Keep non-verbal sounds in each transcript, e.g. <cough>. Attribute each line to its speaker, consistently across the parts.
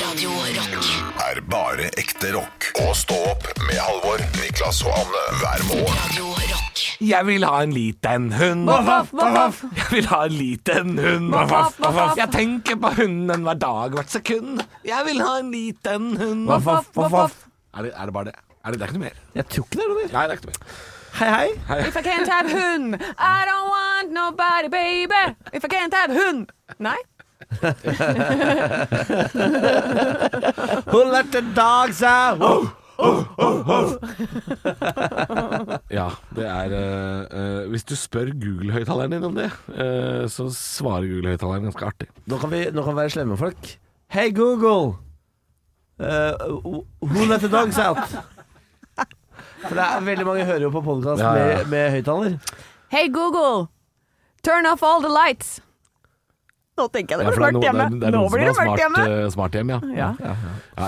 Speaker 1: Radio Rock.
Speaker 2: er bare ekte rock. Og stå opp med Halvor, Niklas og Anne hver morgen.
Speaker 1: Radio Rock.
Speaker 3: Jeg vil ha en liten hund.
Speaker 4: Voff, voff, voff, voff.
Speaker 3: Jeg vil ha en liten hund.
Speaker 4: Voff, voff, voff, voff.
Speaker 3: Jeg tenker på hunden hver dag, hvert sekund. Jeg vil ha en liten hund.
Speaker 4: Voff, voff, voff, voff.
Speaker 3: Er, det, er det bare det? Er det, det er ikke noe mer?
Speaker 4: Jeg tror ikke det er noe mer.
Speaker 3: Nei, det er ikke noe mer.
Speaker 4: Hei, hei.
Speaker 5: If I can't have hund, I don't want nobody, baby. If I can't have hund. Nei.
Speaker 4: Who let the dogs out?
Speaker 3: Ja, det er eh, eh, Hvis du spør Google-høyttaleren din om det, eh, så svarer Google-høyttaleren ganske artig.
Speaker 4: Nå, kan vi, nå kan vi være slemme med folk. Hey, Google. Eh, who let the dogs out? For det er veldig mange hører jo på podkast
Speaker 3: Ja, ja.
Speaker 4: med, med høyttaler.
Speaker 5: Hey Google, turn off all the lights. Nå tenker jeg
Speaker 3: Ja,
Speaker 5: det
Speaker 3: for
Speaker 5: blir mørkt
Speaker 3: det er
Speaker 5: hjemme.
Speaker 3: noen- det er
Speaker 5: Nå
Speaker 3: noen som
Speaker 5: blir det
Speaker 3: har
Speaker 5: mørkt
Speaker 3: smart,
Speaker 5: hjemme.
Speaker 3: eh, smart hjem, ja.
Speaker 5: Ja.
Speaker 3: Ja,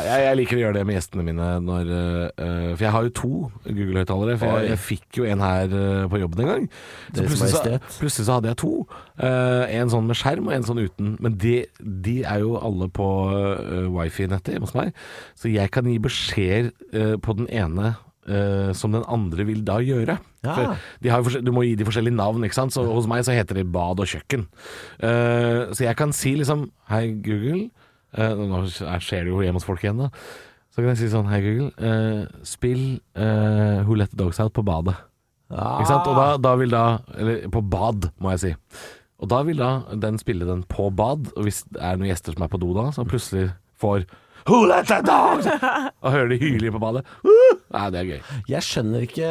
Speaker 3: jeg, jeg liker å gjøre det med gjestene mine når, eh, eh, For jeg har jo to Google-høyttalere. For jeg,
Speaker 4: Oi.
Speaker 3: jeg fikk jo en her eh, på jobben en gang. Så
Speaker 4: Deres
Speaker 3: plutselig, så,
Speaker 4: Majestet.
Speaker 3: plutselig så hadde jeg to. Eh, en sånn med skjerm og en sånn uten. Men de, de er jo alle på eh, wifi-nettet hjemme hos meg. Så jeg kan gi beskjeder eh, på den ene eh, som den andre vil da gjøre.
Speaker 4: Ja.
Speaker 3: For de har jo forskjell- du må gi de forskjellige navn, ikke sant? Så hos meg så heter de bad og kjøkken. Eh, så jeg kan si liksom Hei, Google. Eh, nå skjer det jo hjemme hos folk igjen, da. Så kan jeg si sånn Hei, Google. eh, spill eh, Who Let The Dogs Out på badet. Ikke sant? Og
Speaker 4: Ah.
Speaker 3: da, da vil da Eller på bad, må jeg si. Og da vil da den spille den på bad. Og hvis det er noen gjester som er på do da, så plutselig får Who let the
Speaker 4: <laughs>
Speaker 3: dogs out?» Og hører de hyler på badet. Uh! Nei, det er gøy.
Speaker 4: Jeg skjønner ikke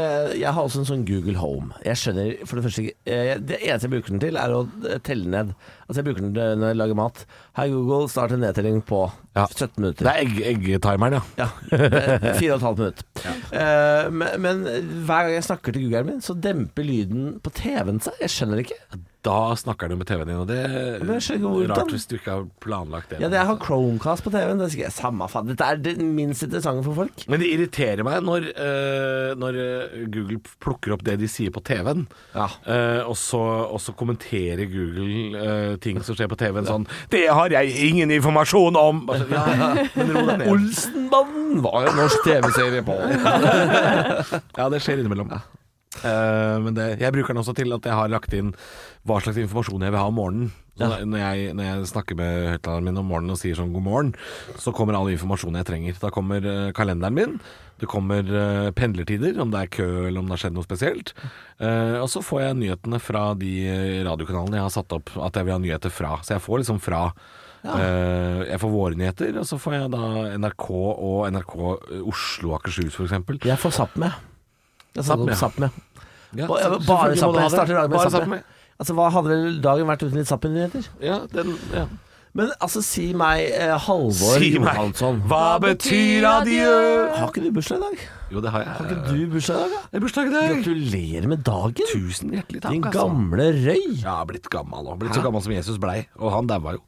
Speaker 4: Jeg har også en sånn Google Home. Jeg skjønner for Det første ikke- eh, Det eneste jeg bruker den til, er å eh, telle ned. Altså Jeg bruker den til når jeg lager mat. Hei, Google, start en nedtelling på
Speaker 3: Ja.
Speaker 4: 17 minutter.
Speaker 3: Det er egg- eggetimeren, ja.
Speaker 4: Ja, eh, Fire og et halvt minutt. Eh, men, men hver gang jeg snakker til Google-en min, så demper lyden på TV-en seg. Jeg skjønner ikke.
Speaker 3: Da snakker du med TV-en din, og det
Speaker 4: men jeg skjønner ikke hvordan.
Speaker 3: er rart hvis du ikke har planlagt det.
Speaker 4: Ja, det- Jeg har Chromecast på TV-en. Det er sikkert Samme faen. Dette er det minst interessante for folk.
Speaker 3: Men det irriterer meg når, eh, når eh, Google plukker opp det de sier på TV-en,
Speaker 4: Ja.
Speaker 3: eh, og, så, og så kommenterer Google eh, ting som skjer på TV-en sånn 'Det har jeg ingen informasjon om!' Bare så- ja, ja, men ro deg ned.
Speaker 4: Olsenbanden var jo norsk TV-serie på.
Speaker 3: <laughs> Ja, det skjer innimellom. Eh, men det, jeg bruker den også til at jeg har lagt inn hva slags informasjon jeg vil ha om morgenen. Så da- når, jeg, når jeg snakker med høyttaleren min om morgenen og sier sånn god morgen, så kommer all informasjonen jeg trenger. Da kommer eh, kalenderen min, det kommer eh, pendlertider, om det er kø eller om det har skjedd noe spesielt. Eh, og så får jeg nyhetene fra de eh, radiokanalene jeg har satt opp at jeg vil ha nyheter fra. Så jeg får liksom fra eh, Jeg får våre nyheter, og så får jeg da NRK og NRK eh, Oslo og Akershus f.eks.
Speaker 4: Jeg får Sápmi. Jeg
Speaker 3: Sápmi, ja.
Speaker 4: får Sápmi.
Speaker 3: Ja,
Speaker 4: Ba-
Speaker 3: så-
Speaker 4: Bare
Speaker 3: selvfølgelig må du ha
Speaker 4: Sápmi. Jeg
Speaker 3: det.
Speaker 4: starter dagen
Speaker 3: Bare
Speaker 4: med
Speaker 3: Sápmi.
Speaker 4: Sápmi. Altså, hva hadde vel dagen vært uten litt Sápmi-nyheter?
Speaker 3: Ja, den, ja.
Speaker 4: Men altså, si meg eh, Halvor
Speaker 3: Si meg.
Speaker 4: Johansson.
Speaker 3: Hva betyr adjø?
Speaker 4: Har ikke du bursdag i dag?
Speaker 3: Jo, det har jeg.
Speaker 4: Har ikke du bursdag i dag, da?
Speaker 3: Det er bursdag i dag.
Speaker 4: Gratulerer med dagen,
Speaker 3: Tusen hjertelig takk.
Speaker 4: din
Speaker 3: altså.
Speaker 4: gamle røy.
Speaker 3: Ja, jeg har blitt gammel nå. Blitt så gammel som Jesus blei. Og han daua jo.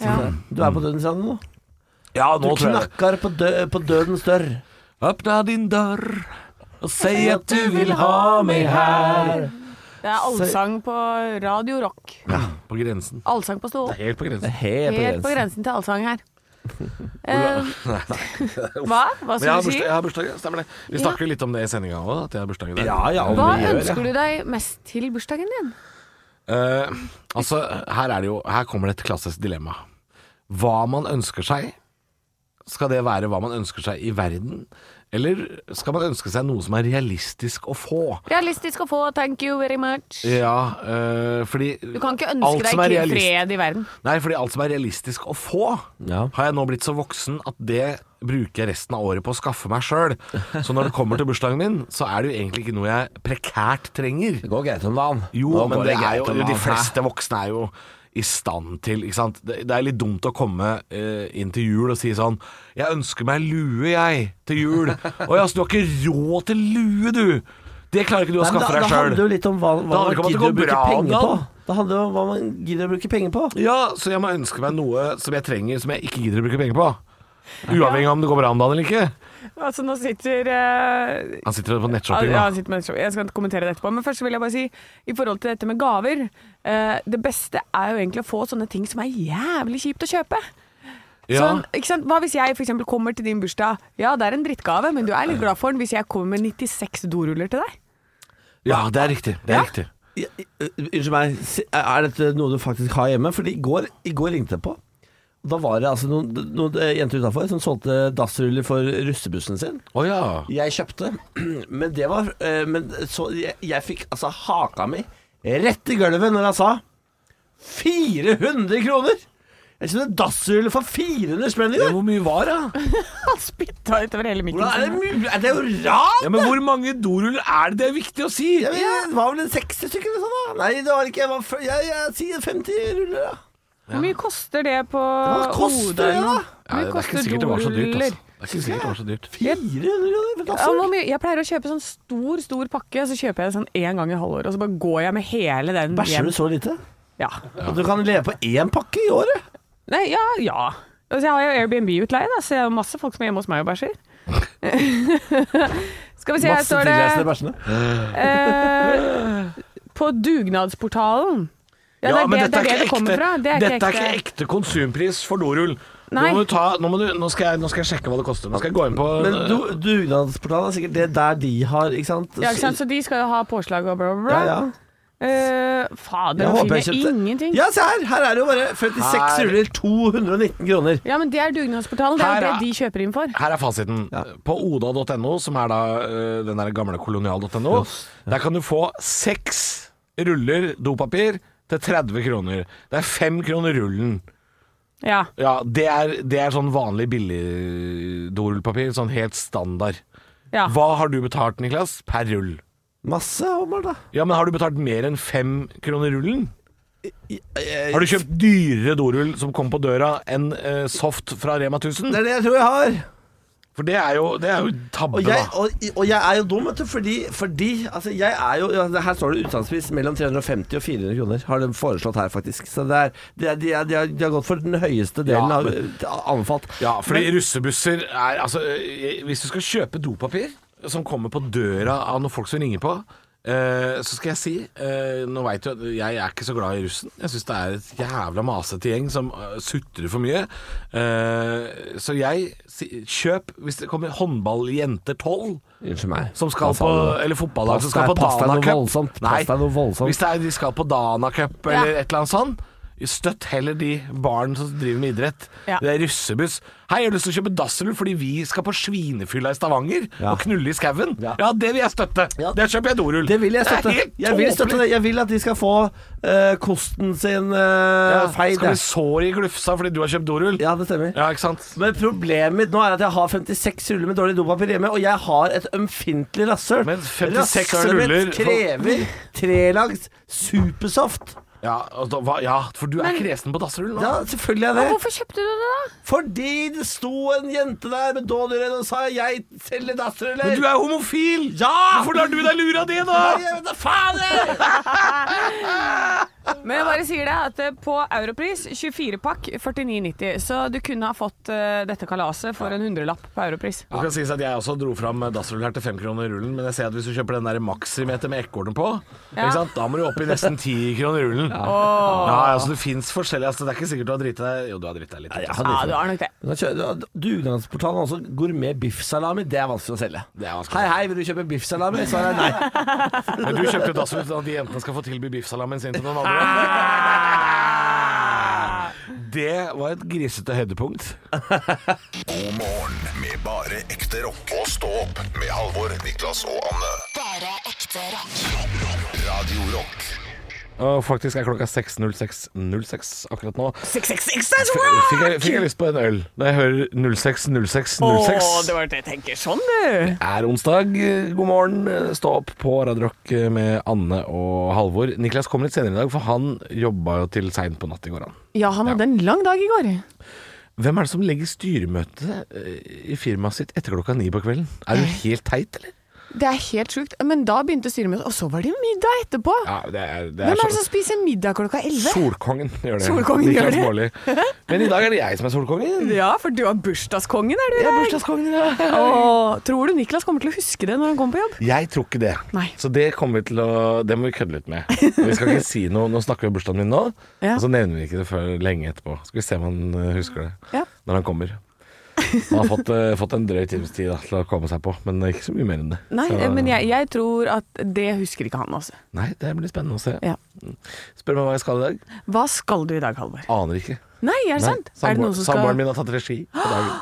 Speaker 4: Du er på dødens rand nå.
Speaker 3: Ja,
Speaker 4: Du knakker på, dø på dødens dør.
Speaker 3: Åpna din dør og si at du vil
Speaker 4: ha meg her.
Speaker 5: Det er allsang på Radio Rock.
Speaker 3: På grensen.
Speaker 5: Allsang på stå opp.
Speaker 3: Helt på grensen.
Speaker 5: Helt på grensen til allsang <laughs> her.
Speaker 3: <laughs>
Speaker 5: Eh, <laughs> hva? Hva
Speaker 3: Men jeg har
Speaker 5: skulle du
Speaker 3: bursdag,
Speaker 5: si?
Speaker 3: jeg har bursdag, stemmer det. Vi snakker jo litt om det i sendinga òg, at jeg har bursdag i dag.
Speaker 4: Ja, ja, om
Speaker 5: Hva
Speaker 4: vi gjør det.
Speaker 5: ønsker du deg mest til bursdagen din?
Speaker 3: Eh, altså, her er det jo Her kommer det et klassisk dilemma. Hva man ønsker seg, skal det være hva man ønsker seg i verden? Eller skal man ønske seg noe som er realistisk å få?
Speaker 5: Realistisk å få, thank you very much.
Speaker 3: Ja, eh, fordi
Speaker 5: Du kan ikke
Speaker 3: alt
Speaker 5: ønske
Speaker 3: som er
Speaker 5: deg
Speaker 3: realist-
Speaker 5: fred i verden.
Speaker 3: Nei, fordi alt som er realistisk å få,
Speaker 4: Ja.
Speaker 3: har jeg nå blitt så voksen at det bruker jeg resten av året på å skaffe meg sjøl. Så når det kommer til bursdagen min, så er det jo egentlig ikke noe jeg prekært trenger.
Speaker 4: Det går greit om dagen.
Speaker 3: Jo,
Speaker 4: Nå
Speaker 3: men
Speaker 4: går
Speaker 3: det
Speaker 4: greit
Speaker 3: er jo,
Speaker 4: om dagen.
Speaker 3: de fleste voksne er jo i stand til ikke sant? Det, det er litt dumt å komme eh, inn til jul og si sånn 'Jeg ønsker meg lue, jeg, til jul.' <laughs> 'Å ja, så du har ikke råd til lue, du?' Det klarer ikke du å
Speaker 4: Nei, men
Speaker 3: skaffe
Speaker 4: da,
Speaker 3: deg
Speaker 4: da handler det jo
Speaker 3: sjøl.
Speaker 4: litt om hva, hva
Speaker 3: handler
Speaker 4: man
Speaker 3: ikke om at det
Speaker 4: gidder å
Speaker 3: går
Speaker 4: bruke
Speaker 3: bra om
Speaker 4: penger på.
Speaker 3: dagen.
Speaker 4: Det handler om hva man gidder å bruke penger på.
Speaker 3: Ja, så jeg må ønske meg noe som jeg trenger, som jeg ikke gidder å bruke penger på. Uavhengig av om det går bra om dagen eller ikke.
Speaker 5: Altså, nå sitter eh,
Speaker 3: Han sitter på nettshopping,
Speaker 5: Ja,
Speaker 3: da.
Speaker 5: han sitter med nettshopping. Jeg skal kommentere det etterpå. Men først så vil jeg bare si, i forhold til dette med gaver eh, Det beste er jo egentlig å få sånne ting som er jævlig kjipt å kjøpe.
Speaker 3: Ja.
Speaker 5: Sånn, ikke sant? Hva hvis jeg for eksempel kommer til din bursdag? Ja, det er en drittgave, men du er litt glad for den hvis jeg kommer med 96 doruller til deg? <laughs>
Speaker 3: Ja, det er riktig. Det er
Speaker 5: Ja.
Speaker 3: riktig.
Speaker 4: Ja, eh, Unnskyld meg, si- er dette noe du faktisk har hjemme? Fordi i går, i går ringte jeg på. Da var det altså noen, noen eh, jenter utafor som solgte dassruller for russebussen sin.
Speaker 3: Å ja.
Speaker 4: Jeg kjøpte, <clears throat> men det var eh, Men så jeg, jeg fikk altså haka mi rett i gulvet når han sa 400 kroner! Jeg kjøpte dassruller for 400 spenn i
Speaker 3: Ja,
Speaker 4: går!
Speaker 3: Hvor mye var det?
Speaker 5: Han spytta utover hele mikken
Speaker 4: Hvordan er det
Speaker 5: sin.
Speaker 4: mulig? Er det jo rart?
Speaker 3: Ja, men hvor mange doruller er det? Det er viktig å si.
Speaker 4: Jeg vet, det var vel en 60 stykker eller sånn, da? Nei, det var ikke Jeg, var, f- jeg, jeg sier 50 ruller, da.
Speaker 5: Hvor mye koster det på
Speaker 4: Hva koster
Speaker 5: Oda
Speaker 4: det,
Speaker 5: eller noe?
Speaker 4: da?
Speaker 3: Ja, det er ikke sikkert det var så dyrt. Altså. Det er ikke sikkert det var så dyrt.
Speaker 4: 400 kroner for
Speaker 5: Ja, hvor
Speaker 4: dassrull?
Speaker 5: mye- jeg pleier å kjøpe sånn stor stor pakke, så kjøper jeg det sånn én gang i halvåret. Og så bare går jeg med hele den
Speaker 4: Bæsjer du så lite?
Speaker 5: Ja.
Speaker 4: At du kan leve på én pakke i året?
Speaker 5: Nei, ja, ja. Altså, jeg har jo Airbnb-utleie, da, så jeg har masse folk som er hjemme hos meg og bæsjer. <laughs> Skal vi se, her
Speaker 4: Masse
Speaker 5: står
Speaker 4: tilreisende
Speaker 5: det
Speaker 4: bæsjende.
Speaker 5: eh, På dugnadsportalen. Ja, det er det, det, er det det kommer fra. Det er
Speaker 3: dette
Speaker 5: ikke
Speaker 3: er ikke
Speaker 5: ekte.
Speaker 3: ekte konsumpris for dorull. Nå,
Speaker 5: Nei.
Speaker 3: må du ta, nå, må du, nå, skal jeg, nå skal jeg sjekke hva det koster. Nå skal jeg gå inn på
Speaker 4: Men du, dugnadsportalen er sikkert det der de har, ikke sant?
Speaker 5: Ja, ikke sant? Så de skal jo ha påslag og bla, bla, bla.
Speaker 4: Ja, ja.
Speaker 5: Eh, fader, nå finner jeg ingenting.
Speaker 4: Ja, se her! Her er det jo bare 56
Speaker 3: Her.
Speaker 4: ruller, 219 kroner.
Speaker 5: Ja, men det er dugnadsportalen. Det er jo
Speaker 3: Her er-
Speaker 5: det de kjøper inn for.
Speaker 3: Her er fasiten.
Speaker 4: Ja.
Speaker 3: På oda.no, som er da eh, den der gamle kolonial.no,
Speaker 4: Yes,
Speaker 3: der kan du få seks ruller dopapir til 30 kroner. Det er fem kroner rullen.
Speaker 5: Ja.
Speaker 3: Ja, det er, det er sånn vanlig billig dorullpapir. Sånn helt standard.
Speaker 5: ja.
Speaker 3: Hva har du betalt, Niklas, per rull?
Speaker 4: Masse, Omar, da.
Speaker 3: Ja, men har du betalt mer enn fem kroner rullen?
Speaker 4: Har
Speaker 3: Har du kjøpt dyrere dorull som kom på døra enn eh, Soft fra Rema 1000?
Speaker 4: Det er det jeg tror jeg har.
Speaker 3: For det er jo, det er jo tabbe,
Speaker 4: Og jeg,
Speaker 3: da.
Speaker 4: og, og jeg er jo dum, vet du, fordi, fordi altså, jeg er jo ja, det- Her står det utsalgspris mellom 350 og 400 kroner, har de foreslått her, faktisk. Så det er, de, er, de, er, de, har, de har gått for den høyeste delen
Speaker 3: Ja,
Speaker 4: av eh,
Speaker 3: men-
Speaker 4: anbefalt.
Speaker 3: Ja, fordi russebusser er Altså, eh, hvis du skal kjøpe dopapir som kommer på døra av noen folk som ringer på, eh, så skal jeg si eh, Nå veit du at jeg er ikke så glad i russen. Jeg syns det er et jævla masete gjeng som eh, sutrer for mye. Eh, så jeg si, Kjøp hvis det kommer håndballjenter 12
Speaker 4: Unnskyld meg.
Speaker 3: som skal
Speaker 4: Hva sa
Speaker 3: på
Speaker 4: du?
Speaker 3: Eller fotballag som
Speaker 4: Pass
Speaker 3: skal
Speaker 4: deg-
Speaker 3: på
Speaker 4: pass deg
Speaker 3: Dana
Speaker 4: noe
Speaker 3: Cup.
Speaker 4: voldsomt. Pass deg noe voldsomt.
Speaker 3: Hvis det er, de skal på Dana Cup eller
Speaker 5: Ja.
Speaker 3: et eller annet sånt, støtt heller de barn som driver med idrett.
Speaker 5: Ja.
Speaker 3: Det er russebuss. Hei, jeg har lyst til å kjøpe dassrull fordi vi skal på svinefylla i Stavanger
Speaker 4: Ja.
Speaker 3: og knulle i skauen.
Speaker 4: Ja.
Speaker 3: Ja. det vil jeg støtte.
Speaker 4: Ja.
Speaker 3: Der kjøper jeg dorull.
Speaker 4: Det vil jeg
Speaker 3: er
Speaker 4: støtte.
Speaker 3: helt
Speaker 4: Jeg vil, støtte
Speaker 3: tåpelig.
Speaker 4: det. jeg vil at de skal få eh, kosten sin
Speaker 3: Ja,
Speaker 4: uh, feid.
Speaker 3: skal bli sår i glufsa fordi du har kjøpt dorull.
Speaker 4: Ja, det stemmer.
Speaker 3: Ja, ikke sant?
Speaker 4: Men problemet mitt nå er at jeg har 56 ruller med dårlig dopapir hjemme, og jeg har et ømfintlig rasshøl.
Speaker 3: Men 56
Speaker 4: Rasshølet
Speaker 3: ruller
Speaker 4: mitt
Speaker 3: for-
Speaker 4: krever trelags supersoft.
Speaker 3: Ja, og da, hva, ja for du er kresen på dassrull nå.
Speaker 4: Ja, selvfølgelig er
Speaker 5: Men
Speaker 4: jeg det.
Speaker 5: Hvorfor kjøpte du det, da?
Speaker 4: Fordi det sto en jente der med dårligere og sa 'jeg selger dassruller'.
Speaker 3: Men du er jo homofil!
Speaker 4: Ja!
Speaker 3: Hvorfor lar du deg lure av det, da?
Speaker 4: Nei, jeg vet da faen! jeg!
Speaker 5: Men jeg bare sier det at eh, på Europris 24-pakk 49,90, så du kunne ha fått eh, dette kalaset for en hundrelapp på Europris.
Speaker 3: Det skal sies at Jeg også dro fram dassrull her til fem kroner i rullen, men jeg ser at hvis du kjøper den der maximeter med ekorn på,
Speaker 5: Ja.
Speaker 3: ikke sant? da må du opp i nesten ti kroner i rullen. Ja. altså Det fins forskjellige altså, Det er ikke sikkert du har driti deg Jo, du har driti deg litt. Altså.
Speaker 5: Ja,
Speaker 4: Nei, jeg hadde
Speaker 5: du har nok det.
Speaker 4: Men da kjører- da- Dugnadsportalen har også gourmet biffsalami. Det er vanskelig å selge.
Speaker 3: Det er vanskelig.
Speaker 4: Hei, hei, vil du kjøpe biffsalami? Svaret er nei.
Speaker 3: Men du kjøpte dassrull til at de jentene skal få tilby biffsalamen sin til noen
Speaker 5: Ah.
Speaker 3: andre. Ah! Det var et grisete høydepunkt.
Speaker 2: God morgen med bare ekte rock. Og stå opp med Halvor, Niklas og Anne.
Speaker 1: Bare ekte rock.
Speaker 2: Radio Rock.
Speaker 3: Og faktisk er klokka 6.06.06 akkurat nå.
Speaker 5: 666, that's
Speaker 3: Fikk jeg, fikk jeg lyst på en øl da jeg hører 06.06.06.
Speaker 5: Å, det var det jeg tenker. Sånn, du.
Speaker 3: er onsdag. God morgen. Stå opp på Radarock med Anne og Halvor. Niklas kom litt senere i dag, for han jobba jo til seint på natt i går. Han.
Speaker 5: Ja, han hadde en lang dag i går.
Speaker 3: Hvem er Eh. det som legger styremøte eh, i firmaet sitt etter klokka ni på kvelden? Er du helt teit, eller?
Speaker 5: Det er helt sjukt. Men da begynte styret mitt, og så var det middag etterpå.
Speaker 3: Ja, det er, det
Speaker 5: Hvem er
Speaker 3: så-
Speaker 5: det som spiser middag klokka elleve?
Speaker 3: Solkongen gjør det.
Speaker 5: Solkongen
Speaker 3: Niklas
Speaker 5: gjør
Speaker 3: Baarli. Men i dag er det jeg som er solkongen.
Speaker 5: Ja, for du er bursdagskongen, er du i
Speaker 3: Jeg er
Speaker 5: dag?
Speaker 3: bursdagskongen i dag.
Speaker 5: Åh, tror du Niklas kommer til å huske det når han kommer på jobb?
Speaker 3: Jeg tror ikke det.
Speaker 5: Nei.
Speaker 3: Så det kommer vi til å Det må vi kødde litt med. Vi skal ikke si noe. Nå snakker vi om bursdagen min nå,
Speaker 5: Ja.
Speaker 3: og så nevner vi ikke det før lenge etterpå. Skal vi se om han eh, husker det
Speaker 5: Ja.
Speaker 3: når han kommer. Han har fått, eh, fått en drøy times tid da, til å komme seg på, men ikke så mye mer enn det.
Speaker 5: Nei, eh,
Speaker 3: så,
Speaker 5: men jeg, jeg tror at det husker ikke han også.
Speaker 3: Nei, det blir spennende å se.
Speaker 5: Ja.
Speaker 3: Spør meg hva jeg skal i dag.
Speaker 5: Hva skal du i dag, Halvor?
Speaker 3: Aner ikke.
Speaker 5: Nei, er det
Speaker 3: Nei,
Speaker 5: sant? Er det noen som skal...
Speaker 3: Samboeren min har tatt regi på dagen.
Speaker 5: <gasps>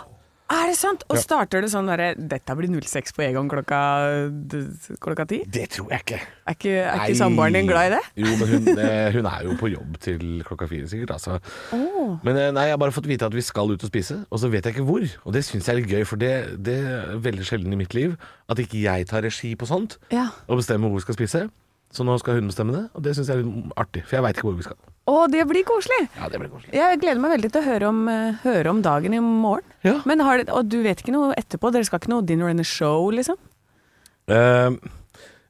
Speaker 5: Er det sant? Og
Speaker 3: Ja.
Speaker 5: starter det sånn derre Dette blir 06 på Egon klokka d- klokka ti?
Speaker 3: Det tror jeg ikke.
Speaker 5: Er ikke, er
Speaker 3: Nei.
Speaker 5: ikke samboeren din glad i det?
Speaker 3: Jo, men hun, eh, hun er jo på jobb til klokka fire sikkert. Altså. Men eh, nei, jeg har bare fått vite at vi skal ut og spise, og så vet jeg ikke hvor. Og det syns jeg er litt gøy, for det, det er veldig sjelden i mitt liv at ikke jeg tar regi på sånt
Speaker 5: Ja.
Speaker 3: og bestemmer hvor vi skal spise. Så nå skal hun bestemme det, og det syns jeg er litt artig, for jeg veit ikke hvor vi skal.
Speaker 5: Å, det blir koselig!
Speaker 3: Ja, det blir koselig.
Speaker 5: Jeg gleder meg veldig til å høre om, eh, høre om dagen i morgen.
Speaker 3: Ja.
Speaker 5: Men har det, og du vet ikke noe etterpå? Dere skal ikke noe dinner and a show, liksom?
Speaker 3: Eh,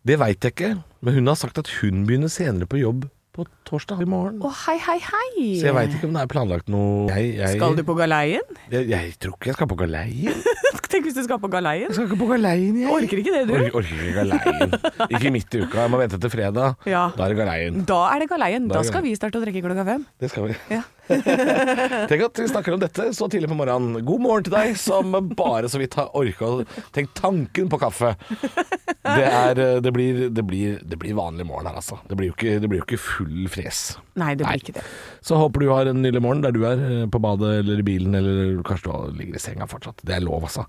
Speaker 3: det veit jeg ikke, men hun har sagt at hun begynner senere på jobb på torsdag i morgen.
Speaker 5: Å, hei, hei, hei!
Speaker 3: Så jeg veit ikke om det er planlagt noe jeg, jeg,
Speaker 5: Skal du på galeien? <laughs>
Speaker 3: jeg, jeg tror ikke jeg skal på galeien.
Speaker 5: Tenk hvis du skal på galeien?
Speaker 3: Jeg skal ikke på galeien, jeg.
Speaker 5: Orker ikke det, du?
Speaker 3: Orker, orker ikke galeien. Ikke midt i uka, jeg må vente til fredag.
Speaker 5: Ja.
Speaker 3: Da er det galeien.
Speaker 5: Da er det galeien.
Speaker 3: Da er
Speaker 5: Da
Speaker 3: det
Speaker 5: skal vi starte å drikke klokka fem.
Speaker 3: Det skal vi.
Speaker 5: Ja.
Speaker 3: <laughs> Tenk at vi snakker om dette så tidlig på morgenen. God morgen til deg som bare så vidt har orka å Tenk tanken på kaffe. Det, er, eh, det, blir, det, blir, det blir vanlig morgen her, altså. Det blir jo ikke, det blir jo ikke full fres.
Speaker 5: Nei, det
Speaker 3: Nei.
Speaker 5: blir ikke det.
Speaker 3: Så håper du har en nydelig morgen der du er, eh, på badet eller i bilen, eller kanskje du ligger i senga fortsatt. Det er lov, altså.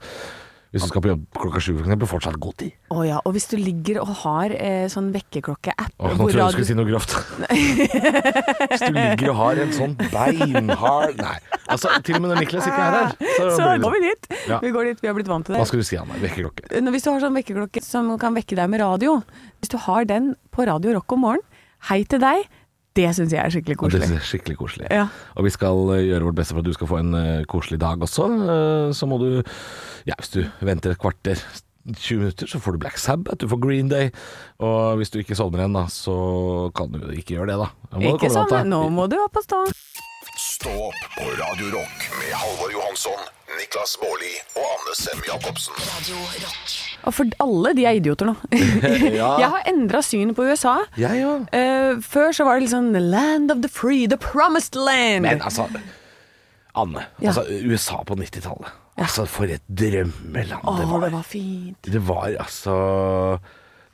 Speaker 3: Hvis du skal på jobb klokka sju, for eksempel, fortsatt god tid.
Speaker 5: Å ja, og hvis du ligger og har eh, sånn vekkerklokke-app
Speaker 3: Åh, nå tror
Speaker 5: hvor
Speaker 3: jeg du
Speaker 5: radio-
Speaker 3: skulle si noe
Speaker 5: <laughs>
Speaker 3: grovt. Hvis du ligger og har en sånn beinhard Nei. Altså, til og med når Niklas ikke er
Speaker 5: <laughs>
Speaker 3: her, så,
Speaker 5: Så
Speaker 3: blir det-
Speaker 5: går vi dit.
Speaker 3: Ja.
Speaker 5: Vi går dit, vi har blitt vant til
Speaker 3: Hva
Speaker 5: det.
Speaker 3: skal du si, Anna? Vekkerklokke.
Speaker 5: Når- Hvis du har sånn vekkerklokke som kan vekke deg med radio, hvis du har den på Radio Rock om morgenen, hei til deg, det syns jeg er skikkelig
Speaker 3: Ja, Det
Speaker 5: koselig.
Speaker 3: er skikkelig koselig.
Speaker 5: Ja.
Speaker 3: Og vi skal eh, gjøre vårt beste for at du skal få en eh, koselig dag også. Eh, Så må du Ja, hvis du venter et kvarter 20 minutter, så får du Black Sabbath, du får Green Day. Og hvis du ikke sovner igjen, da, så kan du ikke gjøre det, da. Da må du komme
Speaker 5: Ikke
Speaker 3: deg opp, da.
Speaker 5: sånn, nå må du opp og stå.
Speaker 2: Stå opp på Radio Rock med Halvor Johansson, Niklas Baarli og Anne Sem Jacobsen.
Speaker 5: Og for alle de er idioter nå.
Speaker 3: <laughs>
Speaker 5: Jeg har endra syn på USA.
Speaker 3: Jeg òg.
Speaker 5: Eh, før så var det litt sånn The land of the free, the promised land.
Speaker 3: Men altså Anne,
Speaker 5: Ja.
Speaker 3: altså USA på 90-tallet. Altså, for et drømmeland
Speaker 5: Å,
Speaker 3: det var.
Speaker 5: det var fint.
Speaker 3: Det var altså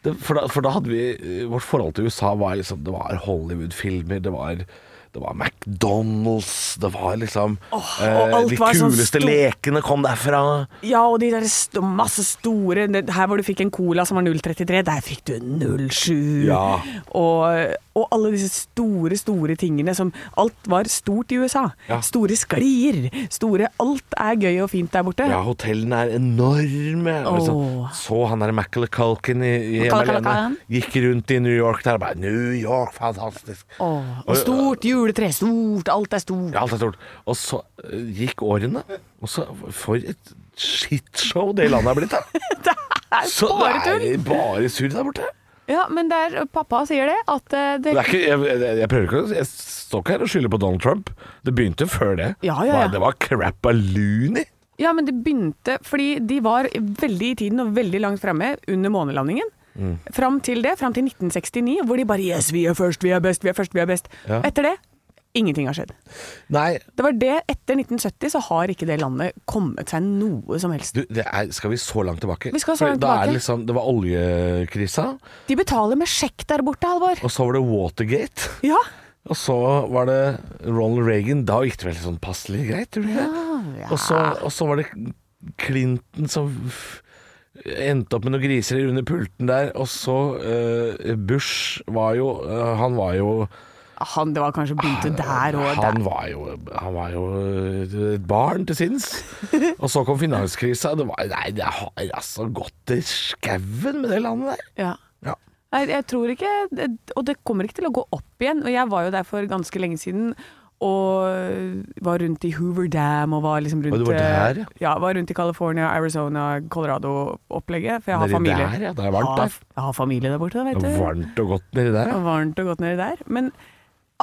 Speaker 3: det, for, da, for da hadde vi eh, Vårt forhold til USA var liksom Det var Hollywood-filmer, det var det var McDonald's, det var liksom
Speaker 5: Åh, og alt
Speaker 3: De
Speaker 5: var sånn
Speaker 3: kuleste
Speaker 5: stor-
Speaker 3: lekene kom derfra.
Speaker 5: Ja, og de der st masse store det- Her hvor du fikk en cola som var 0,33, der fikk du 0,7.
Speaker 3: Ja.
Speaker 5: Og, og alle disse store, store tingene som Alt var stort i USA.
Speaker 3: Ja.
Speaker 5: Store sklier. Store Alt er gøy og fint der borte.
Speaker 3: Ja, hotellene er enorme. Og liksom,
Speaker 5: Åh.
Speaker 3: så han der McCulkin i, i Hjemme
Speaker 5: Macaulay
Speaker 3: alene.
Speaker 5: Culkin.
Speaker 3: Gikk rundt i New York der og bare New York, fantastisk.
Speaker 5: Åh,
Speaker 3: Og-
Speaker 5: og stort juletre. Stort. Alt er stort.
Speaker 3: Ja, alt er stort. Og så eh, gikk årene, og så For et shitshow det landet er blitt, da.
Speaker 5: <laughs> <laughs> Det er
Speaker 3: Så
Speaker 5: bare
Speaker 3: det
Speaker 5: tull.
Speaker 3: er bare surr der borte.
Speaker 5: Ja, men det er Pappa sier det. At eh, det
Speaker 3: Det er ikke, jeg, jeg, jeg prøver ikke å Jeg står ikke her og skylder på Donald Trump. Det begynte før det.
Speaker 5: Ja, ja, ja.
Speaker 3: Det var crapaloony.
Speaker 5: Ja, men det begynte fordi de var veldig i tiden og veldig langt fremme under månelandingen.
Speaker 3: Mm.
Speaker 5: Fram til det, fram til 1969, hvor de bare 'yes, vi er først, vi er best, vi er først, vi er best'.
Speaker 3: Ja.
Speaker 5: Og etter det, ingenting har skjedd.
Speaker 3: Nei,
Speaker 5: Det var det, etter 1970 så har ikke det landet kommet seg noe som helst.
Speaker 3: du, det er, skal vi så langt tilbake?
Speaker 5: Vi skal så
Speaker 3: For
Speaker 5: langt
Speaker 3: da Er
Speaker 5: tilbake.
Speaker 3: det, liksom, det var oljekrisa,
Speaker 5: De betaler med sjekk der borte, Halvor.
Speaker 3: og så var det Watergate.
Speaker 5: Ja.
Speaker 3: Og så var det Ronald Reagan. Da gikk det vel sånn passelig greit, tror du ikke?
Speaker 5: ja.
Speaker 3: Og, så, og så var det Clinton som f- endte opp med noen griser under pulten der. Og så eh, Bush var jo eh, Han var jo
Speaker 5: Han, det var kanskje begynte der og der.
Speaker 3: Ah, han var jo, han var jo eh, et barn til
Speaker 5: <laughs>
Speaker 3: sinns. Og så kom finanskrisa. Det var, nei, det har altså gått til skauen med det landet der.
Speaker 5: Ja.
Speaker 3: Ja.
Speaker 5: Nei, jeg tror ikke det- Og det kommer ikke til å gå opp igjen. Og jeg var jo der for ganske lenge siden og var rundt i Hoover Dam og var liksom rundt
Speaker 3: du var
Speaker 5: eh,
Speaker 3: der, ja?
Speaker 5: ja, var rundt i California, Arizona, Colorado-opplegget. For jeg har
Speaker 6: Nedi
Speaker 5: familie.
Speaker 6: der, ja, det er varmt
Speaker 5: Ja,
Speaker 6: der.
Speaker 5: Jeg har familie der borte, da, vet
Speaker 6: Det
Speaker 5: du.
Speaker 6: er varmt og godt nedi der.
Speaker 5: Det
Speaker 6: ja.
Speaker 5: var Varmt og godt nedi der. Men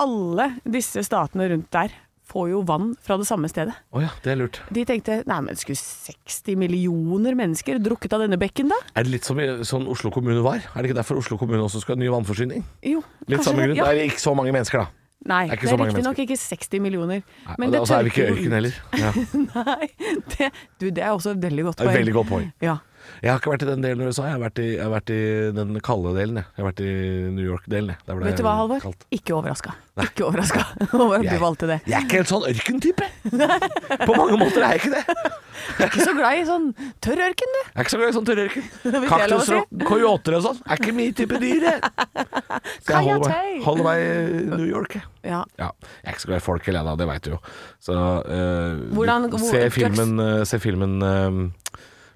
Speaker 5: alle disse statene rundt der får jo vann fra det samme stedet.
Speaker 3: Å ja, det er lurt.
Speaker 5: De tenkte nei, men skulle 60 millioner mennesker drukket av denne bekken da?
Speaker 3: Er det litt som i- sånn Oslo kommune var? Er det ikke derfor Oslo kommune også skal ha ny vannforsyning?
Speaker 5: Jo,
Speaker 3: Litt
Speaker 6: sånn
Speaker 5: kanskje
Speaker 3: samme
Speaker 5: det-
Speaker 3: grunn.
Speaker 5: Ja.
Speaker 3: Det er ikke så mange mennesker, da.
Speaker 5: Nei,
Speaker 3: Det er
Speaker 5: det
Speaker 3: ikke
Speaker 5: er,
Speaker 3: så
Speaker 5: er
Speaker 3: mange
Speaker 5: riktignok ikke 60 millioner.
Speaker 3: Men og så er vi ikke i ørken heller. Ja,
Speaker 5: <laughs> Nei, det, du, det er også et veldig godt
Speaker 3: det er
Speaker 5: poeng.
Speaker 3: et veldig godt poeng.
Speaker 5: Ja.
Speaker 3: Jeg har ikke vært i den delen av USA. Jeg har vært i, jeg har vært i den kalde delen. Jeg, jeg har vært i New York-delen. jeg. Der hvor det
Speaker 5: Vet du
Speaker 3: er
Speaker 5: hva, Halvor?
Speaker 3: kaldt.
Speaker 5: Ikke overraska. Ikke <laughs> overraska over at du
Speaker 3: Jeg-
Speaker 5: valgte det.
Speaker 3: Jeg er ikke helt sånn ørkentype.
Speaker 5: <laughs>
Speaker 3: På mange måter er jeg ikke det.
Speaker 5: Du er ikke så glad i sånn tørr ørken, du. <laughs>
Speaker 3: Jeg er ikke så glad i sånn tørrørken.
Speaker 5: Hvis jeg er lov å si.
Speaker 3: Kaktusrock, coyoter og sånn. Er ikke min type dyr,
Speaker 5: <laughs>
Speaker 3: jeg. Så jeg holder meg,
Speaker 5: Coyote.
Speaker 3: holder meg i New York, jeg.
Speaker 5: Ja.
Speaker 3: Ja, jeg er ikke så glad i folk heller, da, det veit du jo. Så eh,
Speaker 5: Hvordan- hvor-
Speaker 3: se filmen, eh, se filmen eh,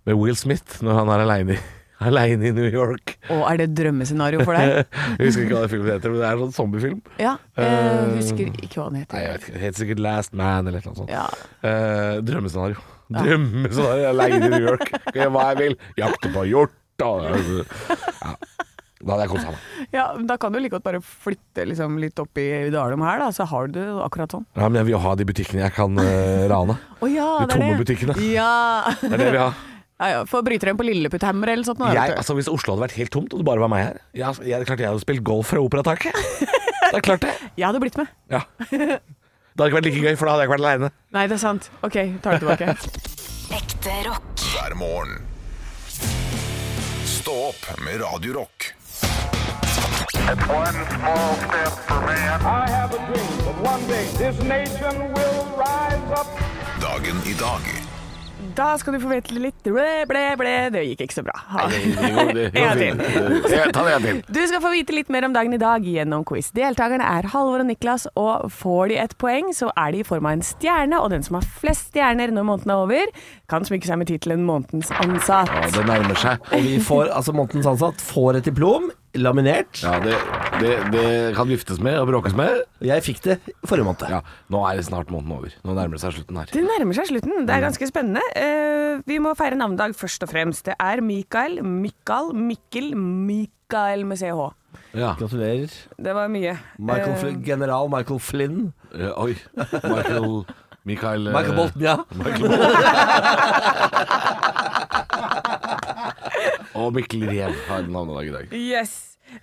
Speaker 3: med Will Smith når han er aleine Aleine i <laughs> New York.
Speaker 5: Og er det et drømmescenario for deg?
Speaker 3: <laughs> Jeg husker ikke hva den filmen heter, men det er en sånn zombiefilm.
Speaker 5: Ja. Jeg husker ikke hva den
Speaker 3: Eh,
Speaker 5: heter.
Speaker 3: Nei, jeg vet ikke, Helt sikkert Last Man eller noe sånt.
Speaker 5: Ja.
Speaker 3: Eh, drømmescenario. Drømmescenario aleine i New
Speaker 5: <laughs>
Speaker 3: York. Kan gjøre hva jeg vil. Jakte på hjort og ja. Da hadde jeg kosa meg.
Speaker 5: Ja, men da kan du like godt bare flytte liksom, litt opp i Dalum her, da, så har du det akkurat sånn.
Speaker 3: Ja, men jeg vil jo ha de butikkene jeg kan eh, rane.
Speaker 5: Å ja,
Speaker 3: De
Speaker 5: det er
Speaker 3: tomme
Speaker 5: det.
Speaker 3: butikkene.
Speaker 5: Ja.
Speaker 3: <laughs> Det er det vi har.
Speaker 5: <laughs> ja, ja. Få bryte deg inn på Lilleputthammer eller sånt. nå, da,
Speaker 3: Jeg,
Speaker 5: vet du.
Speaker 3: altså, hvis Oslo hadde vært helt tomt, og det bare var meg her jeg, altså, jeg, Det er klart jeg hadde spilt golf fra operataket. Det er klart det.
Speaker 5: Jeg hadde blitt med.
Speaker 3: Ja. Det hadde ikke vært like gøy, for da hadde jeg ikke vært aleine.
Speaker 5: Nei, det er sant. OK, tar det tilbake.
Speaker 3: <laughs>
Speaker 7: Ekte rock.
Speaker 2: hver morgen. Stå opp med Radio Rock.
Speaker 8: One small step for man. I have a dream that one day this nation will rise up.
Speaker 2: Dagen i dag.
Speaker 5: Da skal du få vite litt ble, ble, ble. Det gikk ikke så bra. Ha. <laughs> En gang til.
Speaker 3: Ta det en til.
Speaker 5: Du skal få vite litt mer om dagen i dag gjennom quiz. Deltakerne er Halvor og Niklas, og får de et poeng, så er de i form av en stjerne. Og den som har flest stjerner når måneden er over, kan smykke seg med tittelen 'Månedens ansatt'.
Speaker 3: Ja, det nærmer seg.
Speaker 4: Og vi får, altså månedens ansatt får et diplom, laminert.
Speaker 3: Ja, det, det, det kan viftes med og bråkes med.
Speaker 4: Jeg fikk det forrige måned.
Speaker 3: Ja, Nå er det snart måneden over. Nå nærmer det seg slutten her.
Speaker 5: Det nærmer seg slutten. Det er ganske spennende. Eh, vi må feire navnedag først og fremst. Det er Mikael, Mikael, Mikkel, Mikael med CH.
Speaker 3: Ja.
Speaker 4: Gratulerer.
Speaker 5: Det var mye.
Speaker 4: Michael
Speaker 5: Eh,
Speaker 4: Fl- General Michael Flynn.
Speaker 3: Eh, Oi. Michael Michael, eh,
Speaker 4: Michael Bolton, ja.
Speaker 3: Michael Bolton. og Mikkel Rev har navnedag i dag.
Speaker 5: Yes.